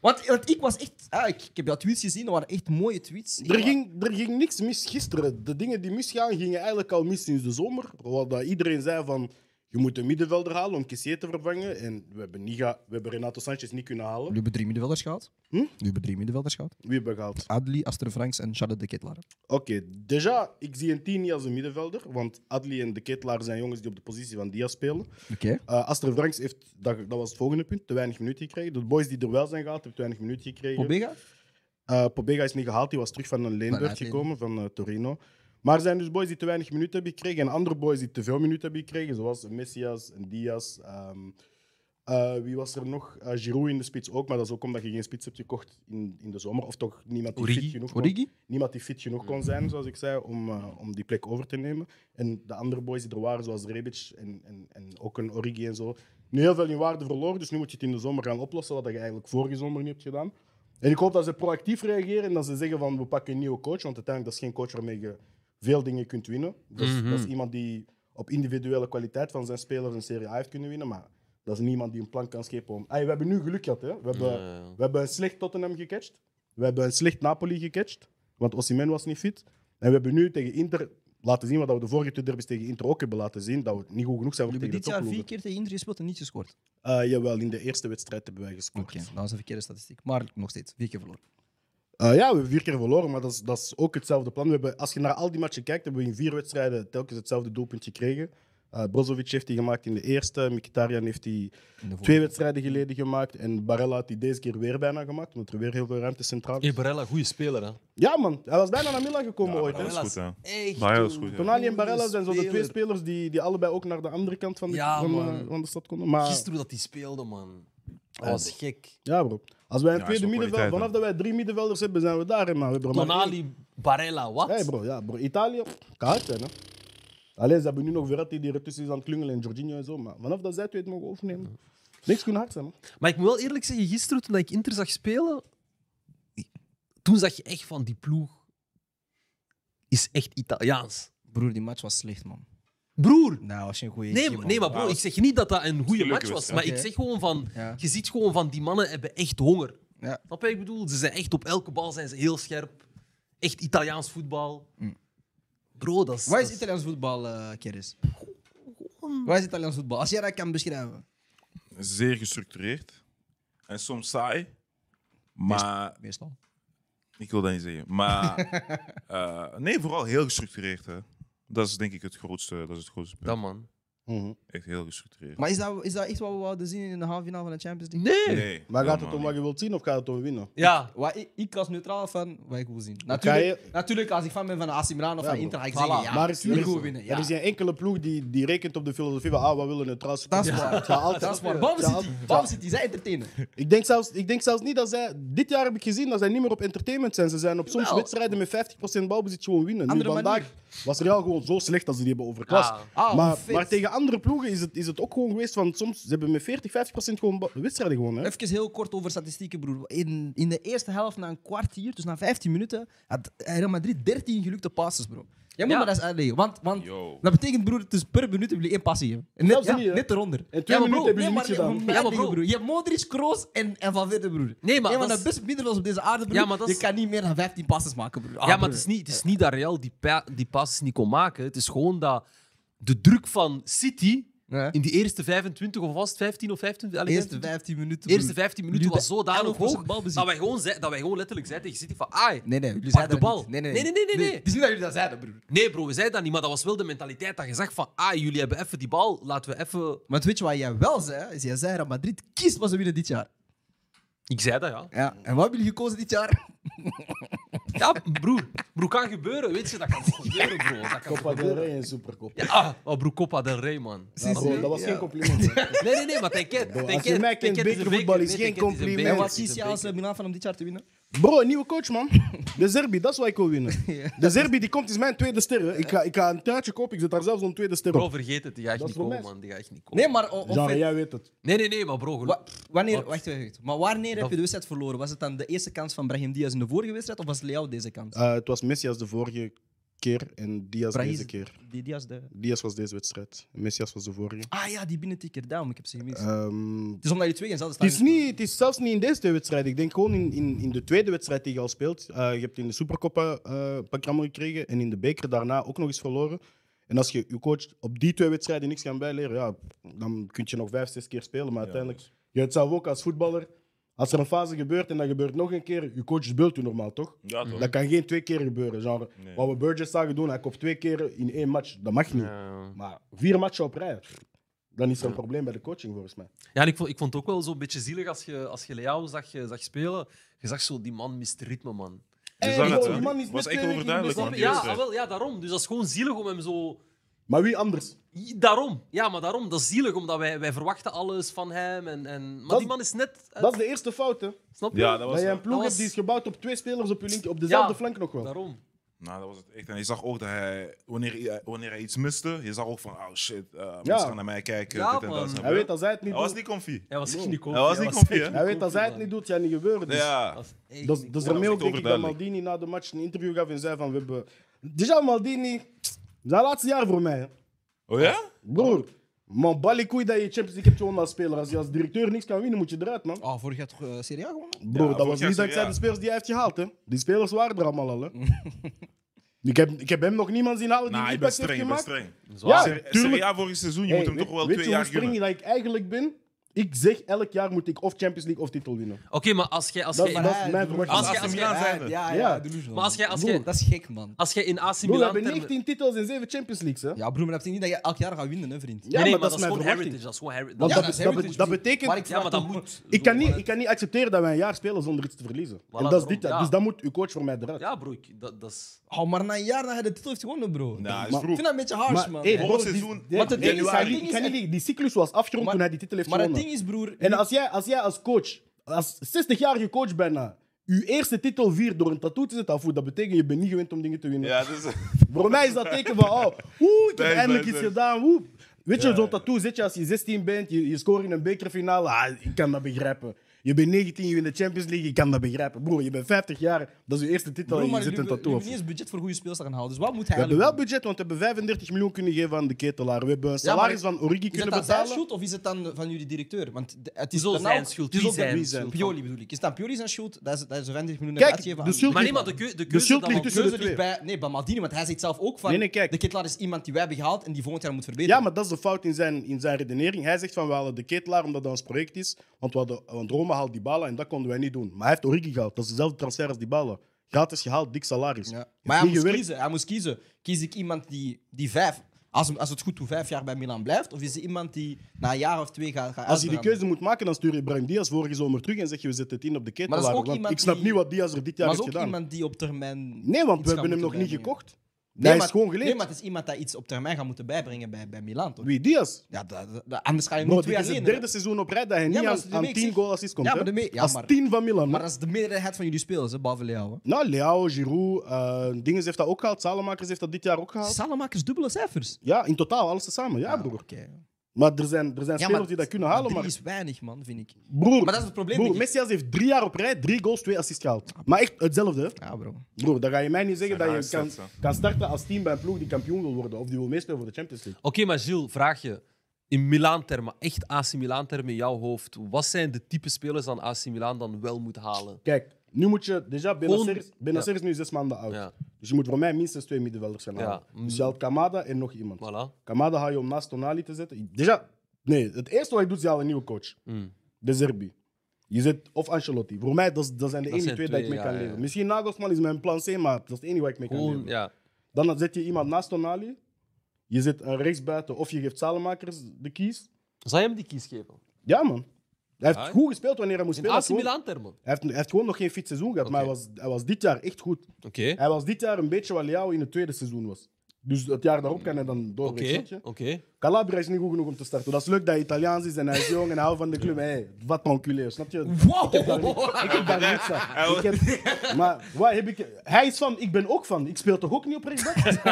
Want, want ik was echt... Ah, ik, ik heb jouw tweets gezien, dat waren echt mooie tweets. Ik Er was- ging, er ging niks mis gisteren. De dingen die misgaan, gingen eigenlijk al mis sinds de zomer. Wat dat iedereen zei van, je moet een middenvelder halen om Kessier te vervangen. En we hebben, niet ga- we hebben Renato Sanchez niet kunnen halen. Nu hebben drie middenvelders gehad. Hm? Nu hebben drie middenvelders gehad. Wie hebben we gehaald? Adli, Aster Franks en Charlotte de Ketelaar. Oké, déjà, ik zie een 10 niet als een middenvelder. Want Adli en de Ketelaar zijn jongens die op de positie van Dia spelen. Oké. Eh Aster Franks heeft, dat, dat was het volgende punt, te weinig minuten gekregen. De boys die er wel zijn gehaald, hebben te weinig minuten gekregen. Pobega? Eh, Pobega is niet gehaald, die was terug van een leenbeurt Vanuit Leen. gekomen van eh, Torino. Maar er zijn dus boys die te weinig minuten hebben gekregen en andere boys die te veel minuten hebben gekregen, zoals Messias en Diaz. ehm, eh, wie was er nog? Eh, Giroud in de spits ook, maar dat is ook omdat je geen spits hebt gekocht in, in de zomer. Of toch niemand die fit Origi. genoeg was Origi? niemand die fit genoeg kon zijn, zoals ik zei, om, eh, om die plek over te nemen. En de andere boys die er waren, zoals Rebic en, en, en ook een Origi en zo, nu heel veel in waarde verloren. Dus nu moet je het in de zomer gaan oplossen, wat je eigenlijk vorige zomer niet hebt gedaan. En ik hoop dat ze proactief reageren en dat ze zeggen van we pakken een nieuwe coach, want uiteindelijk dat is geen coach waarmee je veel dingen kunt winnen. Dat is, dat is iemand die op individuele kwaliteit van zijn spelers een Serie A heeft kunnen winnen, maar dat is niemand die een plan kan schepen om... Ay, we hebben nu geluk gehad, hè. We hebben, we hebben een slecht Tottenham gecatcht. We hebben een slecht Napoli gecatcht, want Osimhen was niet fit. En we hebben nu tegen Inter laten zien wat we de vorige twee derbys tegen Inter ook hebben laten zien, dat we niet goed genoeg zijn We om hebben tegen de dit jaar topploegen. vier keer tegen Inter gespeeld en niet gescoord. Eh, jawel, in de eerste wedstrijd hebben wij gescoord. Oké, dat is een verkeerde statistiek. Maar nog steeds, vier keer verloren. Eh, ja, we hebben vier keer verloren, maar dat is, dat is ook hetzelfde plan. We hebben, als je naar al die matchen kijkt, hebben we in vier wedstrijden telkens hetzelfde doelpunt gekregen. Eh Brozovic heeft die gemaakt in de eerste, Mkhitaryan heeft die twee wedstrijden geleden gemaakt en Barella had die deze keer weer bijna gemaakt, omdat er weer heel veel ruimte centraal is. Barella, goede speler, hè. Ja man, hij was bijna naar Milan gekomen Ja, ooit. dat hè. is goed, hè. Echt. Maar heel goed, ja. Tonali en Barella zijn zo de twee Speler. spelers die, die allebei ook naar de andere kant van de, Ja, van, man. eh, van de stad konden. Maar Gisteren hoe dat hij speelde, man. Dat was gek. ja bro, als wij een Ja, tweede is wel middenveld, kwaliteit, vanaf hè. dat wij drie middenvelders hebben, zijn we daar. hè, Maar we hebben er maar één. Tonali, Barella, wat? Hey bro, ja, bro. Italië kan hard zijn. Hè. Alleen ze hebben nu nog Verratti die ertussen is aan het klungelen en Jorginho en zo. Maar vanaf dat zij twee het mogen overnemen, niks kunnen hard zijn. Hè. Maar ik moet wel eerlijk zeggen, gisteren toen ik Inter zag spelen, toen zag je echt van die ploeg is echt Italiaans. Broer, die match was slecht, man. Broer! Nou, was geen goede Nee, keer, man. nee, maar bro, ik zeg niet dat dat een goede match was, maar ik Oké. zeg gewoon van, Ja. je ziet gewoon van die mannen hebben echt honger. Ja. Snap je? wat Ik bedoel, ze zijn echt op elke bal zijn ze heel scherp. Echt Italiaans voetbal. Bro, dat is. Wat Mm. is dat Italiaans voetbal, eh Keris? Wat is Italiaans voetbal? Als jij dat kan beschrijven. Zeer gestructureerd. En soms saai. Maar Meestal. Ik wil dat niet zeggen. Maar eh, nee, vooral heel gestructureerd. Hè. Dat is denk ik het grootste. Dat is het grootste punt. Dat man. Mhm. Echt heel gestructureerd. Maar is dat, is dat echt wat we wilden zien in de halve finale van de Champions League? Nee! Nee, Maar gaat het helemaal om wat niet. je wilt zien of gaat het om winnen? Ja. Wat ik, ik als neutraal fan, wat ik wil zien. Kan Natuurlijk, je- natuurlijk als ik fan ben van AC Milan of Ja, van bro. Inter, ga ik Voilà. zeggen ja. maar is, er, tuurlijk is, gaan we winnen. Ja. er is geen enkele ploeg die, die rekent op de filosofie van ah, we willen het ras. Dat is Ja. waar. Het gaat altijd- Dat is waar. het Bam gaat City. altijd- Bam City, zij entertainen. Ik denk, zelfs, ik denk zelfs niet dat zij. Dit jaar heb ik gezien dat zij niet meer op entertainment zijn. Ze zijn op soms Jawel. wedstrijden met 50% balbezit gewoon winnen. Andere nu, vandaag was Real gewoon zo slecht dat ze die hebben overklast. Ah. Ah, maar, fit. maar tegen andere ploegen is het, is het ook gewoon geweest van soms ze hebben met 40, 50% gewoon ba- wedstrijden gewonnen. hè. Even heel kort over statistieken, broer. In, in de eerste helft, na een kwartier, dus na 15 minuten, had Real Madrid 13 gelukte passes, bro. Jij moet Ja. maar dat eens uitleggen. Want, want Yo. dat betekent, broer, dus per minuut hebben jullie één passie. hebben. En net, Zelfs ja, niet, hè? net eronder. En twee Ja, maar minuten bro, hebben jullie maar, niet gedaan. maar- Ja, maar dingen, bro. broer. Je hebt Modric, Kroos en, en Van Verde, broer. Nee, maar Een van dat de is- beste middenvelders op deze aarde, broer. Ja, maar dat je is- kan niet meer dan 15 passes maken, broer. Ah, ja, maar broer. het is, niet, het is niet dat Real die, pa- die passes niet kon maken. Het is gewoon dat de druk van City Ja. in die eerste 25 of was het 15 of 25? Allee, Eerste 25 15 minuten, broer. eerste 15 minuten Jullie was zodanig 11% hoog balbezit. dat wij, gewoon zei- dat wij gewoon letterlijk zeiden tegen City van ai, Nee, nee, jullie pak zeiden de dat bal. niet. Nee, nee, nee, nee, nee, nee. Het is niet dat Dus jullie dat zeiden, broer. Nee, bro, we zeiden dat niet, maar dat was wel de mentaliteit dat je zegt van ah, jullie hebben even die bal, laten we even... Want weet je wat jij wel zei? Is jij zei, Real Madrid kiest wat ze winnen dit jaar. Ik zei dat, ja. Ja. En wat hebben jullie gekozen dit jaar? Ja, broer. Broer, kan gebeuren, weet je, dat kan gebeuren, bro. Dat kan Copa gebeuren. del Rey en Supercop. Ja, ah, oh, broer, Copa del Rey, man. Ah, bro, dat was Ja. geen compliment. hè. Nee, nee, nee, maar t'inquiet. Bro, als t'inquiet, je mij kent, t'inquiet, het is een bekervoetbal beker, is nee, geen t'inquiet, het een compliment. beker, En wat het is kies een je als beker. eh, Milan van om dit jaar te winnen? Bro, een nieuwe coach, man. De Zerbi, dat is wat ik wil winnen. De Zerbi die komt, is mijn tweede ster. hè. Ik ga, ik ga een tuintje kopen, ik zet daar zelfs een tweede ster Bro, op. vergeet het, die ga ik Dat niet is voor komen, mij. man. Die ga ik niet komen. Nee, maar... o- of- Genre, jij weet het. Nee, nee, nee, maar bro, geloof- wa- wanneer, Wat? wacht, wacht, wacht. Maar wanneer heb Dat- je de wedstrijd verloren? Was het dan de eerste kans van Brahim Diaz in de vorige wedstrijd of was het Leao deze kans? Eh, het was Messi als de vorige keer en Diaz Brahim- deze keer. Die Diaz de... Diaz was deze wedstrijd. Messias was de vorige. Ah ja, die binnentikker. Daarom, ik heb ze gemist. Ehm, het is omdat je twee keer zelfs het, is niet, het is zelfs niet in deze twee wedstrijden. Ik denk gewoon in, in, in de tweede wedstrijd die je al speelt. Eh, je hebt in de Supercoppa eh een pak rammel gekregen en in de beker daarna ook nog eens verloren. En als je je coach op die twee wedstrijden niks kan bijleren, ja, dan kun je nog vijf, zes keer spelen. Maar uiteindelijk, je hebt zelf ook als voetballer, als er een fase gebeurt en dat gebeurt nog een keer, je coach speelt u normaal, toch? Ja, toch? Dat kan geen twee keer gebeuren. Genre, Wat we Burgess zagen doen, hij kopt twee keer in één match. Dat mag niet. Maar vier matchen op rij, dan is er een probleem bij de coaching volgens mij. Ja, en ik vond, ik vond het ook wel zo'n beetje zielig als je, als je Leao zag, eh, zag spelen. Je zag zo, die man mist ritme, man. Je Hey, zag bro, het, die hè? man is was echt misklerig, overduidelijk, die man. is- die Ja, wedstrijd. ah, wel, ja, daarom. Dus dat is gewoon zielig om hem zo... Maar wie anders? Daarom. Ja, maar daarom. Dat is zielig, omdat wij, wij verwachten alles van hem. En, en... Maar Dat- die man is net... eh, Dat is de eerste fout, hè? Snap je? Ja, dat Dat was, je een nou, ploeg was- hebt die is gebouwd op twee spelers op, je linker, op dezelfde Ja. flank nog wel. Daarom. Nou, dat was het echt. En je zag ook dat hij, wanneer, hij- wanneer hij iets miste, je zag ook van, oh shit, eh, mensen Ja. gaan naar mij kijken. Ja, dit en dat, man. snap je? Hij weet als hij het niet Hij was doet. niet comfy. Hij was echt niet Hij was niet comfy, comfy, hè? Hij weet als hij het niet doet, ja, niet gebeuren. Dus. Ja. Dat is- dat is Ja, dat daarmee is ook denk ik dat overduidelijk. Maldini na de match een interview gaf en zei van we hebben... Déjà Maldini, zijn laatste jaar voor mij. hè. Oh ja? Broer, man, balikoei dat je Champions League hebt gewonnen als speler. Als je als directeur niks kan winnen, moet je eruit, man. Ah, vorig jaar toch eh, Serie A gewonnen? Broer, dat vorig was jaar niet zei- dankzij ja. de spelers die hij heeft gehaald, hè. Die spelers waren er allemaal al, hè. ik, heb, ik heb hem nog niemand zien halen die Nou, een je bent impact heeft streng, je bent gemaakt. streng. Ja, Ser- tuurlijk. Serie A vorig seizoen, je Hey, moet hem weet- toch wel weet twee je jaar hoe streng gunnen. dat ik eigenlijk ben? Ik zeg elk jaar moet ik of Champions League of titel winnen. Oké, maar als jij... Als Dat- jij dat is mijn Als verwachting. jij- AC Milan zijn Ja, Ja. ja, delusional. Maar als jij... Als Broer, jij, Dat is gek, man. als jij in AC Broer, we Milan... hebben termen- 19 titels en 7 Champions Leagues, hè. Ja, broer, maar dat betekent niet dat je elk jaar gaat winnen, hè, vriend. Ja, nee, maar nee, maar dat dat is is mijn gewoon verwachting. heritage. Dat is gewoon heritage. Want Ja, dat, dat is dat, heritage, dat broer. betekent... Maar ik Ja, maar dat Zo, moet. Ik kan, Zo, niet, maar- ik kan niet accepteren dat wij een jaar spelen zonder iets te verliezen. en dat is daarom, dit jaar. ja. Dus dan moet uw coach voor mij eruit. Ja, bro, ik- dat, dat is... Oh, maar na een jaar dat hij de titel heeft gewonnen, bro. Nou, dat ik is vroeg. vind dat een beetje harsh, Maar, man. hey, Ja. bro, die- seizoen, die- Wat het die- ding is, die- het die- ding is- kan niet liegen. die cyclus was afgerond Maar- toen hij die titel heeft maar het gewonnen. ding is, broer... En als jij, als jij als coach, als 60-jarige coach bijna, je eerste titel viert door een tattoo te zetten, afvoer, dat betekent je bent niet gewend om dingen te winnen. Ja, dus- dat is... Voor mij is dat teken van, oh, oeh, ik heb Thanks, eindelijk iets thanks. gedaan. Oeh. Weet je, zo'n tattoo zet je als je 16 bent, je, je scoort in een bekerfinale. Ah, ik kan dat begrijpen. Je bent 19, je wint de Champions League, ik kan dat begrijpen. Broer, je bent 50 jaar, dat is je eerste titel Broer, en maar je zit een jullie tattoo hebben af. niet eens budget voor goede speels te gaan houden. Dus wat moet hij We hebben wel eigenlijk budget, want we hebben 35 miljoen kunnen geven aan de ketelaar. We hebben een Ja, maar- salaris van Origi doen? Is kunnen dat dan zijn betalen. schuld of is het dan van jullie directeur? Want de- het is Zo daarna zijn ook- schuld, Het is wie ook de- zijn zijn schuld? Pioli bedoel ik. Is dat Pioli zijn schuld? Dat is, dat is 50 miljoen Kijk, uitgeven de aan- schuld- Maar nee, maar de, keu de De keuze... schuld dat ligt we- tussen de keuze ligt twee. bij, nee, bij Maldini, want hij zegt zelf ook van Nee, nee, kijk. de Kittelaar is iemand die wij hebben gehaald en die volgend jaar moet verbeteren. Ja, maar dat is de fout in zijn, in zijn redenering. Hij zegt van we halen de ketelaar omdat dat ons project is. Want, we hadden, want Roma haalt Dybala en dat konden wij niet doen. Maar hij heeft Origi gehaald. Dat is dezelfde transfer als Dybala. Gratis gehaald, dik salaris. Ja. Heeft Maar hij niet moest gewerkt. kiezen. Hij moest kiezen. Kies ik iemand die, die vijf. Als, als het goed toe vijf jaar bij Milan blijft? Of is hij iemand die na een jaar of twee gaat gaan Als je die keuze moet maken, dan stuur je Brian Diaz vorige zomer terug en zeg je we zetten het in op de Maar dat is ketelaren. ook Want iemand ik snap die- niet wat Diaz er dit jaar Maar is heeft ook gedaan. iemand die op termijn. Nee, want iets we hebben gaat hem nog moeten niet bijbrengen. gekocht. Hij is maar- gewoon geleerd. Nee, maar het is iemand dat iets op termijn gaat moeten bijbrengen bij, bij Milan, toch? Wie Diaz? Ja, dat, dat- dat- anders ga je Bro, niet twee dit jaar is het geleden- derde seizoen op rij dat hij maar niet als aan, de aan week 10 zegt- goal assists komt. Ja, hè? maar de me- ja, Als maar- 10 van Milan. Maar Maar dat is de meerderheid van jullie spelers, hè, behalve Leao. Nou, Leao, Giroud, eh Dinges heeft dat ook gehaald. Salemakers heeft dat dit jaar ook gehaald. Salamakers dubbele cijfers. Ja, in totaal, alles samen. Ja, broer. Ah, Oké. Maar er zijn, er zijn Ja, spelers maar- die dat kunnen Maar halen. drie Maar, is weinig, man, vind ik. broer, Maar dat is het probleem, broer, denk ik. Messias heeft drie jaar op rij, drie goals, twee assists gehaald. Maar echt hetzelfde. hè. Ja, bro. Broer, dan ga je mij niet zeggen Zijn dat je kan, rare sets, hè. kan starten als team bij een ploeg die kampioen wil worden. Of die wil meespelen voor de Champions League. maar Gilles, vraag je. In Milaan-termen, echt AC Milaan-termen in jouw hoofd, wat zijn de type spelers dan AC Milaan dan wel moet halen? Kijk, nu moet je... Déjà, Benacer is- Gewoon- Benacer is nu zes maanden oud. Ja. Dus je moet voor mij minstens twee middenvelders gaan halen. Ja. Dus je haalt Kamada en nog iemand. Voilà. Kamada ga je om naast Tonali te zetten. Déjà, nee, het eerste wat je doet is je haalt een nieuwe coach. Mm. De Zerbi. Je zet of Ancelotti. Voor mij, dat, is- dat zijn de Dat enige zijn twee dat ik mee twee, ja, kan ja, leven. ja. Misschien Nagelsman is mijn plan C, maar dat is het enige waar ik mee kan Gewoon, leven. ja. Dan zet je iemand naast Tonali. Je zet een rechtsbuiten of je geeft Salemakers de kies. Zou je hem die kies geven? Ja, man. Hij heeft Ja. goed gespeeld wanneer hij moest In spelen. AC Hij heeft gewoon- Milaan-termen? hij, heeft, hij heeft gewoon nog geen fit seizoen gehad, maar hij was, hij was dit jaar echt goed. Oké. Hij was dit jaar een beetje wat Leao in het tweede seizoen was. Dus het jaar daarop kan hij dan Oké, doorbreken. snap je? oké. Calabria is niet goed genoeg om te starten. Dat is leuk dat hij Italiaans is en hij is jong en hij houdt van de club. Hey, wat een enculé, snap je? Wow! Ik heb daar niks aan. Ik heb- maar wat heb ik... Hij is van, ik ben ook van. Ik speel toch ook niet op rechtsback?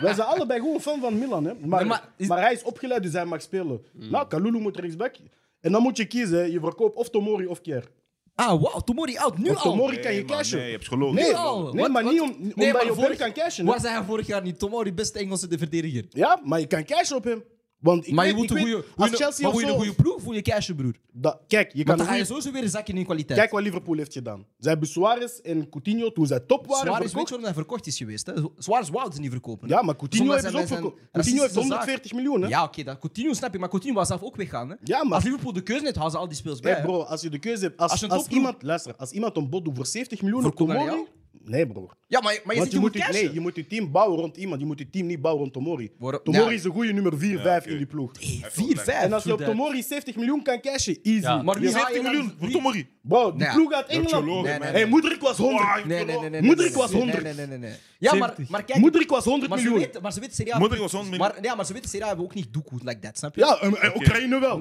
Wij zijn allebei gewoon fan van Milan. Hè? Maar, maar, maar is- Hmm. hij is opgeleid, dus hij mag spelen. Nou, Kalulu moet rechtsback. En dan moet je kiezen. hè. Je verkoopt of Tomori of Kier. Ah, wauw, Tomori oud, nu Want al. Tomori kan Nee, je man, cashen. Nee, je hebt gelogen. Nee, al. nee, Oh, Wat- maar wat- niet om, omdat maar je op hem vorig- kan cashen. hè. Waar zijn hij vorig jaar niet? Tomori, beste Engelse de verdediger. Ja, maar je kan cashen op hem. Want ik maar je weet- moet ik een weet, goede. Als Chelsea maar of moet je zo- een goede ploeg voor je cashen, broer. dat- Kijk, je kan Want een dan ga je goede- sowieso weer zakken in kwaliteit. Kijk wat Liverpool heeft gedaan. Zij hebben Suarez en Coutinho, toen zij top waren, Suarez, weet verkocht. je waarom hij verkocht is geweest? Hè? Suarez wou ze niet verkopen. hè? Ja, maar Coutinho Sommigen heeft ze ook zijn- zijn verkocht. Coutinho racistische heeft zaak. 140 miljoen, hè? Ja, oké, dat Coutinho snap je, maar Coutinho was zelf ook weggaan. Hè? Ja, maar- Als Liverpool de keuze net hadden ze al die speels bij. Hey, bro, als je de keuze hebt... Als, Als als, je een toploeg- iemand... Luister, als iemand een bod doet voor 70 miljoen op Verkoop naar Tomori... Nee, bro. hè? Ja, maar, maar je, Want zit, je moet, je, cashen. nee, je moet je team bouwen rond iemand. Je moet je team niet bouwen rond Tomori. Waarom- Tomori Ja. is een goede nummer 4, 5 in die ploeg. Hey, vier, vijf. En als je op Inderdaad. Tomori 70 miljoen kan cashen, easy. Ja. Maar wie haal je dan- 70 miljoen voor wie- Tomori. Bro, Ah, die Nee. ploeg uit hebt Engeland... gelogen, Nee, man. nee, Hey, Moedrik was 100. Wow, Nee, nee, nee. nee Moedrik nee, nee, was nee, 100. Nee, nee, nee. nee. Ja, maar, 70. maar kijk. Moedrik was 100 maar ze miljoen. weten- Maar ze weten serieus. Moedrik was 100 miljoen. Maar, ja, maar ze weten serieus, we ook niet doekoe like that, snap je? Ja, en- en Oekraïne wel.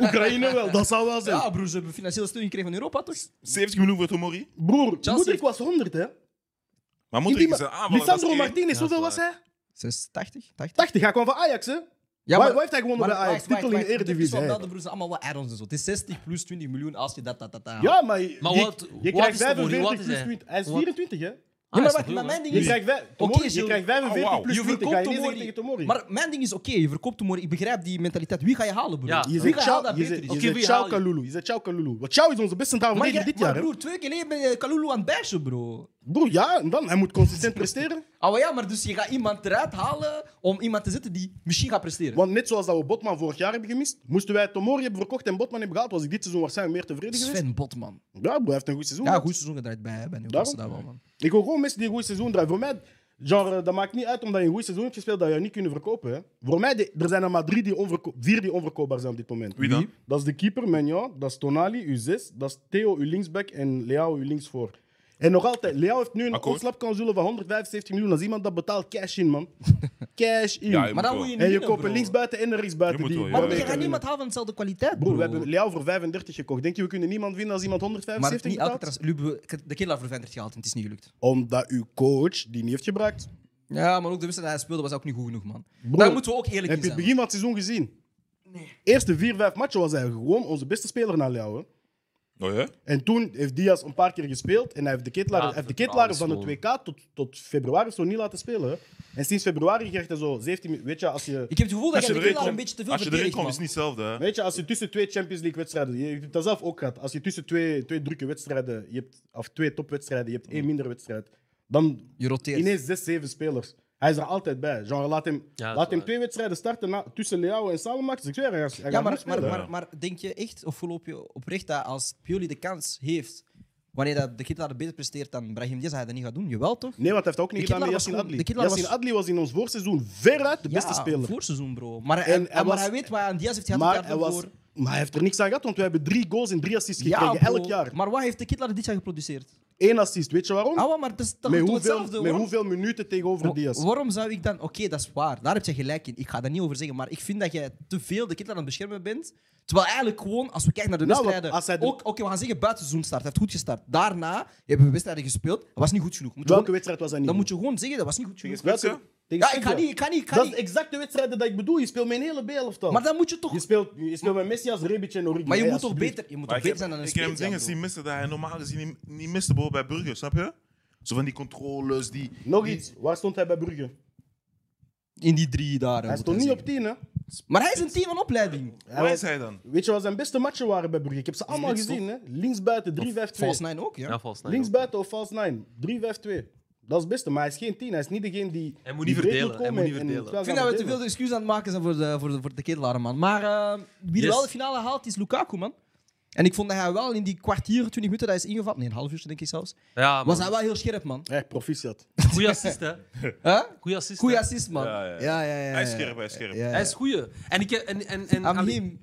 Oekraïne wel, dat zou wel zijn. Ja, broer, ze hebben financiële steun gekregen van Europa, toch? 70 miljoen voor Tomori. Broer, Chelsea Moedrik was heeft- 100, hè? Maar moet Die ik ma- eens Ah, aanvallen? Lisandro Martinez, hoeveel was hij? 86, 80. 80, hij kwam van Ajax, hè? Ja, maar- waar heeft hij gewonnen bij Ajax? Titel in de Het is Eredivisie. wel hè? wel, de broers zijn allemaal wel add-ons en zo. Het is 60 plus 20 miljoen als je dat, Ah, dat, dat, dat haalt. Ja, maar je, Maar je- wat- je wat krijgt is de Tomori? 45 Wat is plus hij? 20. Hij is Wat- 24 hè? Ja, maar Ah, wacht, is maar dat mijn ding Je is... krijgt, wij- Tomori, je Gilles. krijgt Oh, 45 wauw. plus je 20. Ga verkoopt je niet zeggen Tomori. tegen Tomori. Maar mijn ding is, oké, je verkoopt Tomori. Ik begrijp die mentaliteit. Wie ga je halen, broer? Ja. je Wie zegt ga je halen dat Chao- je beter zegt- is? je Oké, zegt wie Chao haal je? Kalulu. Je zegt Chao Kalulu. Want Chao is onze beste Maar, centraalverdediger jij- dit maar jaar. hè? broer, twee weken geleden ben je Kalulu aan het bashen, bro. Broer, ja, en dan? Hij moet consistent presteren. Ah, maar ja, maar dus je gaat iemand eruit halen om iemand te zetten die misschien gaat presteren. Want net zoals dat we Botman vorig jaar hebben gemist, moesten wij Tomori hebben verkocht en Botman hebben gehaald, was ik dit seizoen waarschijnlijk meer tevreden geweest. Sven Botman. Ja, broer, hij heeft een goed seizoen. Ja, gehad. goed seizoen gedraaid bij, bij Newcastle. Daarom? Dat wel, man. Ik wil gewoon mensen die een goed seizoen draaien. Voor mij, genre, dat maakt niet uit omdat je een goed seizoen hebt gespeeld dat je niet kunnen verkopen. Hè. Voor mij, de- er zijn er maar drie die onverko- vier die onverkoopbaar zijn op dit moment. Wie dan? Dat is de keeper, Menja. Dat is Tonali, uw zes. Dat is Theo, uw linksback. En Leao, uw linksvoor. En nog altijd, Leao heeft nu een Akkoord. ontslapclausule van 175 miljoen. Dat is iemand dat betaalt cash in, man. Cash in. Ja, Maar je dan moet wel. moet je niet en je winnen, koopt een bro. linksbuiten en een rechtsbuiten. Je moet die wel, ja. Maar waarmee je je gaat kan winnen. niemand halen van dezelfde kwaliteit, bro. Broer, we hebben Leao voor 35 gekocht. Denk je, we kunnen niemand winnen als iemand Maar 175 niet elke betaalt? trans... Lube, ik heb de killer voor 35 gehaald en het is niet gelukt. Omdat uw coach die niet heeft gebruikt. Ja, maar ook de wedstrijd die hij speelde was ook niet goed genoeg, man. Bro, Daar moeten we ook eerlijk Heb in je het zijn. begin van het seizoen gezien? Eerste vier, vijf matchen was hij gewoon onze beste speler na Leao. hè. Oh ja? En toen heeft Diaz een paar keer gespeeld en hij heeft de ketelaar, Ja, hij heeft de vertrouwen ketelaar van het is 2K tot, tot februari zo niet laten spelen. hè. En sinds februari krijgt hij zo 17 mi- Weet je, als je, Ik heb het gevoel dat Als je je de erin killer een komt, beetje te veel als je erin verdedigt, komt, is het man. niet hetzelfde. hè? weet je, als je tussen twee Champions League wedstrijden, je hebt dat zelf ook gehad, als je tussen twee, twee drukke wedstrijden, je hebt, of twee topwedstrijden, je hebt één minder wedstrijd, dan Je roteert. ineens zes, zeven spelers. Hij is er altijd bij. Genre, laat hem, Ja, dat is laat hem waar. twee wedstrijden starten na- tussen Leao en Salemax. Ik zweer, hij gaat, hij Ja, gaat maar, goed maar, spelen. maar, maar denk je echt, of geloof je oprecht dat als Pioli de kans heeft wanneer dat de Kitla beter presteert dan Brahim Diaz, hij dat niet gaat doen. Jawel, toch? Nee, want hij heeft ook niet De gedaan met Kittelaar was Yassin gewoon- Adli. de Kittelaar Yassin was- Adli was in ons voorseizoen veruit de beste ja, speler. voorseizoen, bro. Maar hij, En hij maar was- hij weet wat hij aan Diaz heeft gehad het maar, jaar hij was, daarvoor. maar hij heeft er niks aan gehad, want we hebben drie goals en drie assists gekregen bro. elk jaar. Maar wat heeft de Kitla dit jaar geproduceerd? Eén assist, weet je waarom? Ah, wel, maar het is toch met, toch hoeveel, hetzelfde, met hoor. hoeveel minuten tegenover Diaz? Waarom zou ik dan... Oké, dat is waar. Daar heb je gelijk in. Ik ga daar niet over zeggen. Maar ik vind dat jij te veel de kinderen aan het beschermen bent. Terwijl eigenlijk gewoon, als we kijken naar de Nou, want wedstrijden... als hij de- ook, Oké, we gaan zeggen buitenseizoenstart. Hij heeft goed gestart. Daarna hebben we wedstrijden gespeeld. Dat was niet goed genoeg. Moet je Welke gewoon- wedstrijd was dat niet? dan moet je gewoon zeggen, dat was niet goed genoeg. Welke? Tegen Ja, ik ga Serbia. niet... Ik ga niet, ik ga Dat is niet. exact de wedstrijden dat ik bedoel. Je speelt met een hele B-elftal. Maar dan moet je toch... Je speelt, je speelt met Messi als Rebic en Origi. maar je hè, moet toch alsjeblieft. beter, je moet Maar toch ik beter heb, zijn dan een ik heb hem spits. dingen ja, zien bro. missen dat hij normaal gezien niet, niet miste bro, bij Burger, snap je? Zo van die controles, die... Nog iets. Waar stond hij bij Brugge? In die drie daar. Hij moet stond hij niet op zeggen. 10, hè? Maar hij is een team van opleiding. Waar is hij dan? Weet je wat zijn beste matchen waren bij Brugge? Ik heb ze allemaal Spits, gezien, hè? Linksbuiten, 3-5-2. Volgens mij ook, ja. Ja, volgens mij. ook. Linksbuiten of vals 9. 3-5-2. Dat is het beste, maar hij is geen 10. Hij is niet degene die. Hij moet die niet breed verdelen, hij komen moet en- niet en verdelen. het spel Ik vind dat gaan we te veel excuses aan het maken zijn voor de, voor de, voor de ketelaren, man. Maar eh, wie er Yes. wel de finale haalt, is Lukaku, man. En ik vond dat hij wel in die kwartier, 20 minuten, dat hij is ingevallen. Nee, een half uurtje denk ik zelfs. Ja, Was man. hij wel heel scherp, man. Ja, proficiat. Goeie assist, hè. Huh? Goeie assist. Goeie hè. assist, man. Ja, ja, ja. Hij is scherp, hij is scherp. Ja, ja. Hij is goeie. En ik, en, en, en, Aan allee, hem.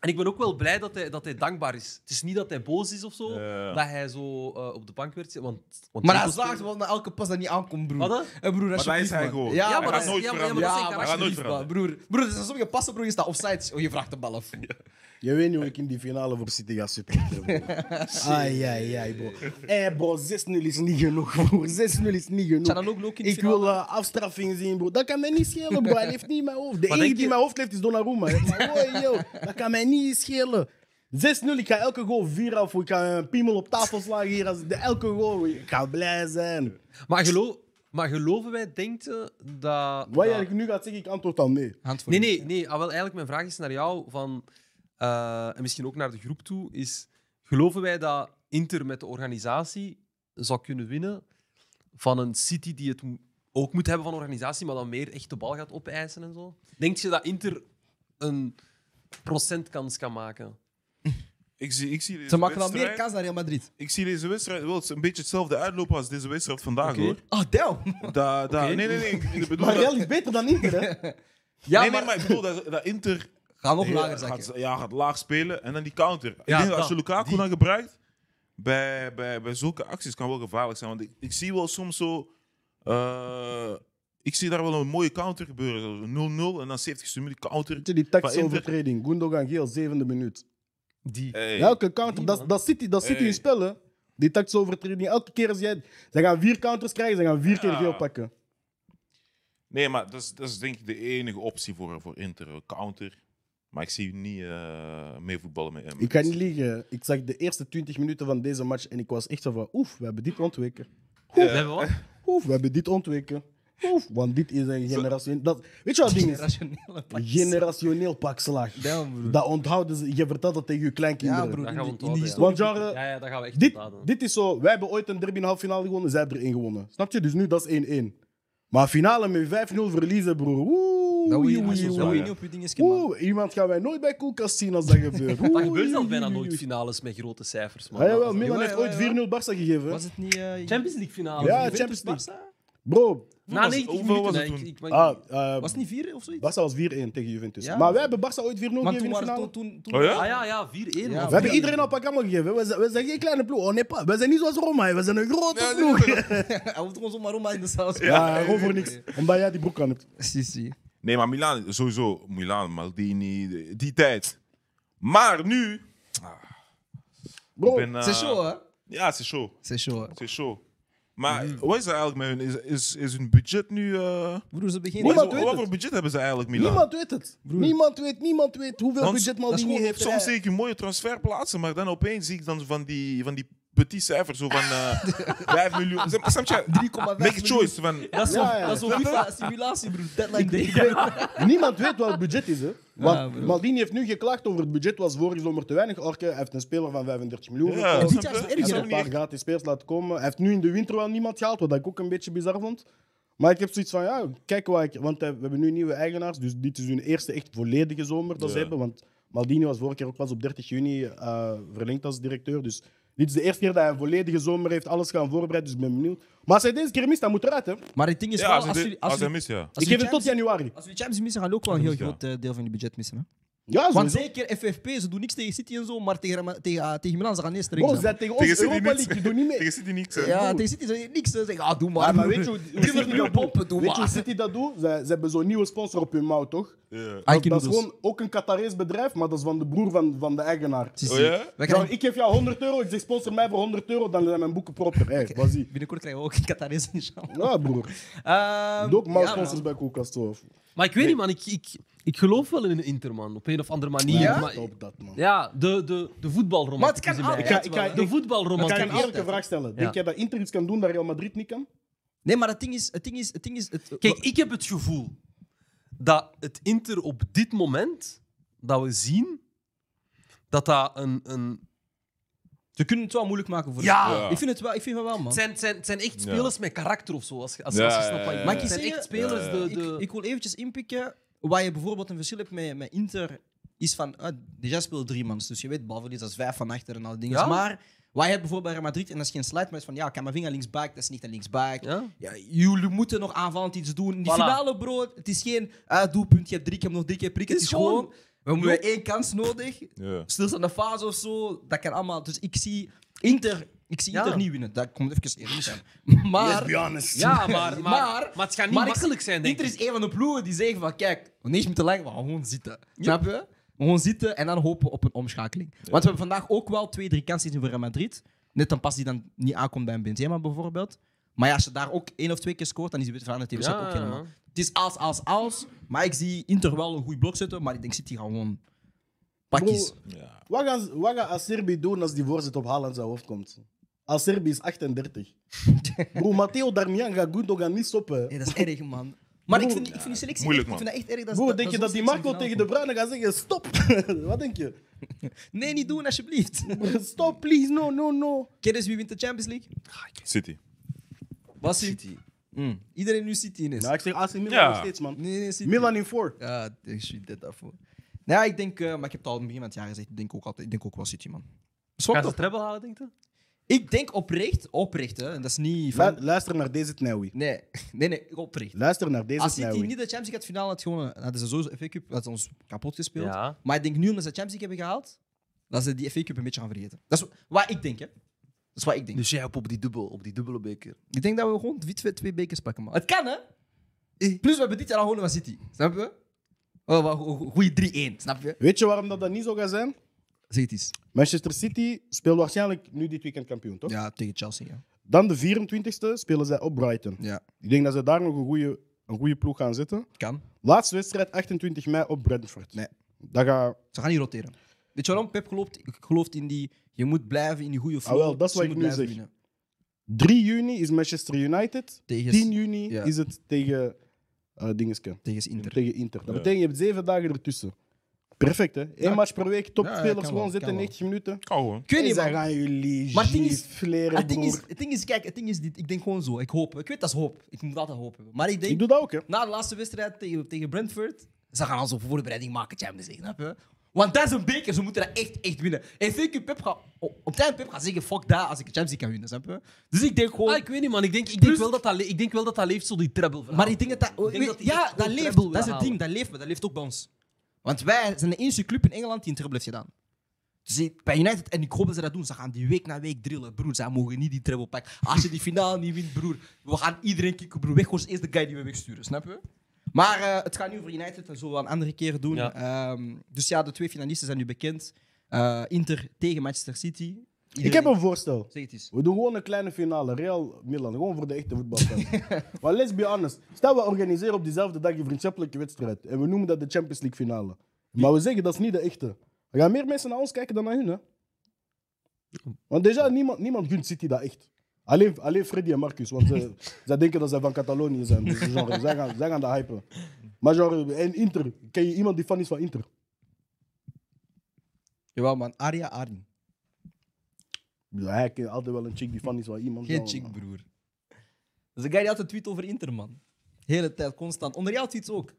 en ik ben ook wel blij dat hij, dat hij dankbaar is. Het is niet dat hij boos is of zo, Ja. dat hij zo eh, op de bank werd zitten. Want, want Maar hij zaagt wel naar elke pas dat niet aankomt, broer. Wat dan? Eh, broer, Maar daar is alsjeblieft, hij man. gewoon. Ja, Ja, hij maar gaat dat- nooit ja, maar- veranderen. dat Ja, zeg ik maar dan alsjeblieft, alsjeblieft, man. man. Broer, broer, er zijn sommige passen, broer, je staat offside. Oh, je vraagt de bal af. Je weet niet hoe ik in die finale voor City ga supporteren. broer. Ai, ai, ai, bro. Hé, bro, 6-0 is niet genoeg, broer. 6-0 is niet genoeg. ook Ik wil eh, afstraffing zien, bro. Dat kan mij niet schelen, bro. Hij leeft niet in mijn hoofd. De Maar enige denk die je- in mijn hoofd leeft is Donnarumma. hè. Maar hoi, yo, dat kan mij niet schelen. 6-0, ik ga elke goal 4 af. Ik ga een piemel op tafel slagen hier. Als de, elke goal, ik ga blij zijn. Maar, gelo- maar geloven wij, denkt je, dat... Wat dat- jij nu gaat zeggen, ik antwoord al nee. Hand voor Nee, je. nee, nee. Ah, wel, eigenlijk mijn vraag is naar jou, van, eh, en misschien ook naar de groep toe, is geloven wij dat Inter met de organisatie zou kunnen winnen van een City die het mo- ook moet hebben van organisatie, maar dan meer echt de bal gaat opeisen en zo? Denk je dat Inter een procentkans kan maken? Ik zie, ik zie Ze deze maken wel meer wedstrijd... kans dan Real Madrid. Ik zie deze wedstrijd wel het is een beetje hetzelfde uitlopen als deze wedstrijd vandaag, Oké. hoor. Oh, damn. Da, da, Nee, nee, nee. Ik ik bedoel Maar dat, Real is beter dan Inter, hè? Ja, maar, nee, nee, maar ik bedoel dat, dat Inter ga nog lager heel- zakken. gaat, ja, gaat laag spelen en dan die counter. ik Ja, denk dat als je dat, Lukaku dan gebruikt, bij, bij, bij zulke acties kan wel gevaarlijk zijn. Want ik, ik zie wel soms zo... eh, ik zie daar wel een mooie counter gebeuren. zo 0-0 en dan 70ste minuut counter. Weet je, die Van tactische Inter. overtreding. Gundogan Geel, zevende minuut. Die. Hey. Elke counter, dat, dat zit, dat zit in Hey. je spel, hè? Die tactische overtreding. Elke keer als jij... Ze gaan vier counters krijgen, ze gaan vier keer Ja. geel pakken. Nee, maar dat is, dat is denk ik de enige optie voor, voor Inter. een Counter. Maar ik zie u niet eh mee voetballen met hem. Ik ga niet liegen. Ik zag de eerste 20 minuten van deze match en ik was echt zo van, oef, we hebben dit ontweken. We hebben wat? Oef, we hebben dit ontweken. Oef, want dit is een generationeel... Dat, weet je wat het ding is? Eh, Rationele Generationeel pakslag. Damn, broer. Dat onthouden ze. Je vertelt dat tegen je kleinkinderen. Ja, broer. Dat gaan we in die- in onthouden, die ja. historie- Want genre, Ja, ja, dat gaan we echt eh, dit, onthouden. dit is zo. Wij hebben ooit een derby in de halve finale gewonnen, zij hebben er één gewonnen. Snap je? Dus nu dat is 1-1. Maar finale met 5-0 verliezen, broer. Oeh, Dat wil je oei, dat oei, wil oei. je niet op je dingetje, man. Oeh, iemand gaan wij nooit bij koelkast zien als dat gebeurt. Dat Oei, gebeurt al oei, bijna oei, nooit oei. finales met grote cijfers. Man. Ah, jawel, Dat is- Milan Ja, heeft ja, ooit 4-0 ja. Barça gegeven. hè. Was het niet... eh, Champions League finale. Ja, Juventus, Champions League. Barca? Bro, Na was- 90 hoeveel minuten. was het nee, toen? ik- ik mag- ah, eh, Was het niet vier of zoiets? Barça was 4-1 tegen Juventus. Ja. Maar wij hebben Barça ooit 4-0 Want gegeven toen in de waren finale. toen... toen, toen Oh ja? Ah ja, ja, 4-1. Ja, We hebben iedereen al pakamo gegeven. We zijn, we zijn geen kleine ploeg. Oh, nee, pa. We zijn niet zoals Roma. hè. We zijn een grote ploeg. Hij hoeft gewoon zomaar om in de zaal. Ja, over niks. Omdat jij die broek aan hebt. Sissi. Nee, maar Milan, sowieso. Milan, Maldini, de- die tijd. Maar nu. Bro, ik ben, eh, C'est chaud, hè? Ja, het is show. C'est chaud, hè? Het is show. Maar Mm-hmm. wat is er eigenlijk met hun? Is, is, is hun budget nu. eh, wat Broer, ze beginnen... Niemand is- weet wat het. voor budget hebben ze eigenlijk, Milan? niemand weet het. Niemand weet, niemand weet hoeveel Want budget dat is Maldini gewoon- heeft. Soms zie ik een mooie transfer plaatsen, maar dan opeens zie ik dan van die, van die petit cijfers. Zo van eh 5 miljoen. Snap- snap je? 3,5 Make a choice. Van, Dat is zo- Ja, ja. dat is zo'n FIFA simulatie, broer. Deadline day. Niemand weet wat het budget is. Hè. Want Ja, bro. Maldini heeft nu geklaagd over het budget was vorige zomer te weinig. Orke, hij heeft een speler van 35 miljoen. ja, gekocht. dit jaar snap je? is het Hij erger. heeft een paar gratis spelers laten komen. Hij heeft nu in de winter wel niemand gehaald, wat ik ook een beetje bizar vond. Maar ik heb zoiets van, ja, kijk waar ik... Want eh, we hebben nu nieuwe eigenaars, dus dit is hun eerste echt volledige zomer dat ze Ja. hebben. Want Maldini was vorige keer ook pas op 30 juni eh, verlengd als directeur. Dus Dit is de eerste keer dat hij een volledige zomer heeft alles gaan voorbereiden, dus ik ben benieuwd. Maar als hij deze keer mist, dan moet eruit, hè. Maar het ding is Ja, wel, als, als, hij jullie- dit- als als, hij jullie- mist, ja. als ik geef jullie het tot Champions- januari. als jullie Champions missen, gaan jullie ook wel een heel moet, ja. groot eh, deel van je budget missen. Hè? Ja, Want sowieso. zeker FFP, ze doen niks tegen City en zo, maar tegen, Rama- tegen, ah, tegen Milan, ze gaan eerst Bro, erin. ze zijn Oh, tegen Tegen ons City Europa League, niks. je doet niet mee. Tegen City niks. hè. Ja, tegen City ze niks. Ze zeggen, ah, doe maar. Ja, maar weet je hoe hoe Doe maar, City doe maar, dat doet? pompen, doe Weet je hoe maar. City dat doet? Ze, ze hebben zo'n nieuwe sponsor op hun mouw, toch? Ja. Ah, Dat, ik dat is bedoel dus. gewoon ook een Qatarese bedrijf, maar dat is van de broer van, van de eigenaar. Oh ja? We Zo, krijgen- ik geef jou 100 euro, ik zeg sponsor mij voor 100 euro, dan zijn mijn boeken proper. Hé, was ie. Binnenkort krijgen we ook een Qatarese inshallah. Ja, broer. Ehm, Doe ook maar ja, sponsors man. bij Koelkast. hoor. Maar ik weet niet, man. Ik, ik, ik geloof wel in Inter, man. Op een of andere manier. Ja, Maar, Op dat, man. ja, de, de, de voetbalromantiek Maar het kan is in mij. altijd Ik ga- ik ga- De ik- Ik voetbalromantiek. kan is een in mij. eerlijke vraag stellen. Denk jij dat Inter iets kan doen dat Real Madrid niet kan? Nee, maar het ding is... Het ding is, het ding is het, Kijk, ik heb het gevoel dat het Inter op dit moment, dat we zien, dat dat een... een Ze kunnen het wel moeilijk maken voor ja, Ja. Ik vind het wel, ik vind het wel, man. Het, zijn, het zijn, het zijn echt spelers met karakter of zo, als, je- als, Ja, als je ja, snapt wat ik ja, bedoel. ja. Het zijn echt spelers... Ja, De, eh, Ik, de... ik wil eventjes inpikken. Waar je bijvoorbeeld een verschil hebt met, met Inter, is van... ah, Deja speelt drie mans, dus je weet, balverlies, dat is vijf van achter en al die dingen. Ja. Maar waar je hebt bijvoorbeeld bij Real Madrid, en dat is geen slide, maar het is van, ja, Camavinga linksback, dat is niet een linksback. Ja? Ja, jullie moeten nog aanvallend iets doen. Die Voilà. finale, bro, het is geen ah, doelpunt, je hebt drie keer nog drie keer prikken. Het is, gewoon, we hebben één kans nodig. Ja. Stilstaande fase of zo, dat kan allemaal. Dus ik zie Inter, ik zie Ja. Inter niet winnen. Dat komt even eerlijk zijn. Maar... honest. Ja, maar, maar, maar, Maar- het gaat niet maar ik- makkelijk zijn, denk Inter ik. is een van de ploegen die zeggen van kijk, wanneer is me te lang, we gaan gewoon zitten. Snap je? We gewoon zitten en dan hopen op een omschakeling. Want we hebben vandaag ook wel twee, drie kansen gezien voor Real Madrid. Net een pas die dan niet aankomt bij een Benzema bijvoorbeeld. Maar ja, als je daar ook één of twee keer scoort, dan is het veranderd in de wedstrijd Ja, ook ja, helemaal. ja. Het is als, als, als. Maar ik zie Inter wel een goed blok zetten, maar ik denk City gaan gewoon pakjes. Bro, Ja. Wat gaat, wat gaat Acerbi doen als die voorzet op Haaland zijn hoofd komt? Acerbi is 38. Bro, Matteo Darmian gaat Gundogan niet stoppen. Nee, dat is erg, man. Maar ik vind, ik vind die selectie Moeilijk, echt, ik man. vind dat echt erg. Dat, Bro, dat- denk je zo'n dat die selectie in Marco de tegen finale de Bruyne gaat zeggen stop? Wat denk je? komt. Nee, niet doen, alsjeblieft. Stop, please, no, no, no. Kennis wie wint de Champions League? City. Was City. Hmm. Iedereen nu City in is. Nou, ik zeg AC Milan Ja. nog steeds, man. nee, nee, City. Milan in 4. Ja, ik zie dit daarvoor. Nou, ja, ik denk, eh, maar ik heb het al in het begin van het jaar gezegd. Ik denk ook, altijd, ik denk ook wel City, man. Gaan Zwak ze toch? treble halen, denk je? Ik denk oprecht, oprecht, hè. En dat is niet van... Lu- Luister naar deze Tnawi. Nee, nee, nee, oprecht. Luister naar deze Als City niet Tnawi. de Champions League had finale had gewonnen, hadden ze sowieso FA Cup, hadden ze ons kapot gespeeld. Ja. Maar ik denk nu, omdat ze de Champions League hebben gehaald, dat ze die FA Cup een beetje gaan vergeten. Dat is wat ik denk, hè. Dat is wat ik denk. Dus jij hebt op die, dubbel, op die dubbele beker. Ik denk dat we gewoon die twee, twee bekers pakken, man. Het kan, hè? Plus, we hebben dit jaar al gewonnen van City. Snap je? Oh, wel, go- go- goeie 3-1, snap je? Weet je waarom dat, dat niet zo gaat zijn? Zeg het eens. Manchester City speelt waarschijnlijk nu dit weekend kampioen, toch? Ja, tegen Chelsea, ja. Dan de 24e spelen zij op Brighton. Ja, Ik denk dat ze daar nog een goede een goeie ploeg gaan zitten. kan. Laatste wedstrijd 28 mei op Brentford. Nee. Dat gaat... Ze gaan niet roteren. Weet je waarom? Pep gelooft, gelooft in die... Je moet blijven in die goede flow. wel, dat is Ze wat ik moeten nu zeg. blijven winnen. 3 juni is Manchester United. Tegen, 10 juni Ja. is het tegen eh Dingeske. tegen Inter. Tegen Inter. Dat Ja. betekent je hebt zeven dagen ertussen. Perfect, hè? Eén match per week, Ja, ja, topspelers kan gewoon wel, zitten, kan wel. 90 minuten. Kou hoor. Ik weet niet, dan man. gaan jullie Maar het ding is- fleren, Het ding, is, broer. het ding is, kijk, het ding is dit. Ik denk gewoon zo. Ik hoop. Ik weet dat is hoop. Ik moet altijd hoop hebben. Maar ik denk, Ik doe dat ook, hè? na de laatste wedstrijd tegen, tegen Brentford, ze gaan al zo'n voorbereiding maken, Champions League, snap je? Want dat is een beker, ze moeten dat echt, echt winnen. En zeker Pep gaat, op op tijd Pep gaat zeggen, fuck dat, als ik de Champions League kan winnen, snap je? Dus ik denk gewoon... Ah, ik weet niet, man. Ik denk, ik denk, Plus- wel, dat dat le- ik denk wel dat dat leeft, zo die treble verhaal. Maar ik denk dat dat... Ik denk weet- dat die echt ja, dat gewoon leeft. treble Dat is het halen. ding, dat leeft, maar dat leeft ook bij ons. Want wij zijn de enige club in Engeland die een treble heeft gedaan. Dus ik- bij United, en ik hoop dat ze dat doen, ze gaan die week na week drillen. Broer, zij mogen niet die treble pakken. Als je die finale niet wint, broer, we gaan iedereen kicken, broer. Weghorst is de guy die we wegsturen, snap je? Maar eh, het gaat nu over United, dat zullen we een andere keer doen. Ja. Ehm, dus ja, de twee finalisten zijn nu bekend. Eh, Inter tegen Manchester City. Ik heb een voorstel. Zeg het eens. We doen gewoon een kleine finale. Real Milan. Gewoon voor de echte voetbalfans. maar let's be honest. Stel, we organiseren op diezelfde dag een vriendschappelijke wedstrijd. En we noemen dat de Champions League finale. Maar we zeggen dat is niet de echte. Er gaan meer mensen naar ons kijken dan naar hun. Hè? Want déjà, niemand, niemand gunt City dat echt. Alleen, alleen Freddy en Marcus. Want ze, zij denken dat zij van Catalonië zijn. Dus genre, zij, gaan, zij gaan dat hypen. Maar genre, en Inter. Ken je iemand die fan is van Inter? Jawel man, Aria Arin. Ja, hij kent altijd wel een chick die fan is van iemand. Geen genre. chick, broer. Dus Dat is een guy die altijd tweet over Inter, man. Hele tijd, constant. Onder jou tweets ook.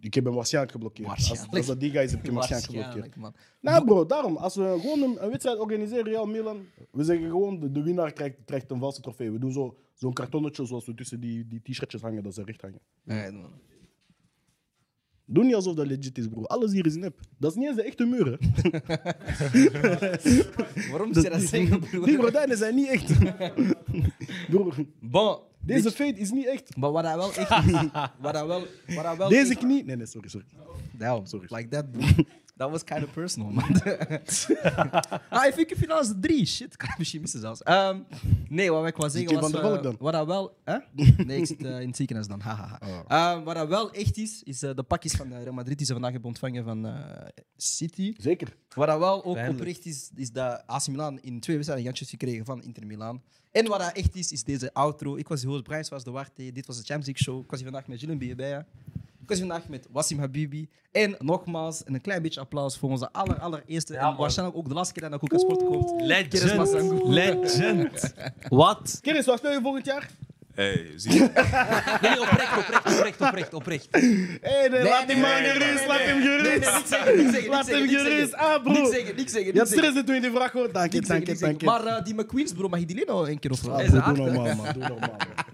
Ik heb hem waarschijnlijk geblokkeerd. Waarschijnlijk. Als, als dat die guy is, heb ik hem waarschijnlijk geblokkeerd. Waarschijnlijk, man. Nou bro, daarom. Als we gewoon een, een wedstrijd organiseren, Real Milan, we zeggen gewoon, de, de winnaar krijgt, krijgt een valse trofee. We doen zo- zo'n kartonnetje zoals we tussen die, die t-shirtjes hangen, dat ze recht hangen. Nee, man. Doe niet alsof dat legit is, bro. Alles hier is nep. Dat is niet eens de echte muren. Waarom moet je dat zeggen, broer? Die gordijnen zijn niet echt. Bro, Bon, deze fade is niet echt. maar wat dat wel echt is, wat dat wel, wat dat wel Deze echt- knie. Nee, nee, sorry, sorry. Damn, Sorry. like that, bro. That was kind of personal, man. ah, ik vind finale is drie. Shit, kan ik misschien missen zelfs. Ehm, nee, wat ik wou Zit zeggen je was... van der eh, Valk dan? Wat dat wel... Hè? Nee, ik zit eh, in het ziekenhuis dan. Hahaha. Oh. Ehm, wat dat wel echt is, is eh, de pakjes van eh, Real Madrid die ze vandaag hebben ontvangen van eh, City. Zeker. Wat dat wel ook Pijnlijk. oprecht is, is dat AC Milan in twee wedstrijden jantjes gekregen van Inter Milan. En wat dat echt is, is deze outro. Ik was Joost Bruins, was de Warte. Dit was de Champions League show. Ik was hier vandaag met Julien Bierbea. Ik was hier vandaag met Wassim Habibi. En nogmaals, een klein beetje applaus voor onze aller, allereerste en waarschijnlijk ook de laatste keer dat naar Koeka Sport komt. Keres Legend. Masango. Legend. Wat? Keris, wat speel je volgend jaar? Hey, zie je. Nee, nee, oprecht, oprecht, oprecht, oprecht, oprecht. Hé, nee, Eh, laat nee, die man nee, nee, gerust, nee, laat hem Nee, nee, gerust. niks zeggen, niks zeggen, Laat niks hem zeggen, niks gerust. zeggen. Ah, Niks bro. zeggen, niks zeggen, Je niks hebt zeggen. stress toen je die vraag hoort. Dank je, Niks dank zeggen, je, niks dank zeggen. je. Maar eh, die McQueens, bro, mag je die niet nog een keer of Ah, bro, wat? Doe normaal, man. Doe normaal, man.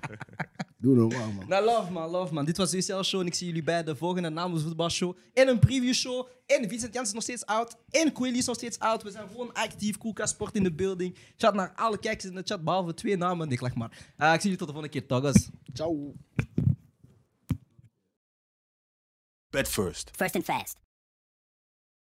Doe normaal, man. Nou, love man, love man. Dit was de UCL Show en ik zie jullie bij de volgende namens voetbalshow. En een preview show. En Vincent Jans is nog steeds oud. En Coeli is nog steeds oud. We zijn gewoon actief. Koelka Sport in de building. Chat naar alle kijkers in de chat, behalve twee namen. Ik lach maar. Eh, ik zie jullie tot de volgende keer, Toggers. Ciao. First and fast.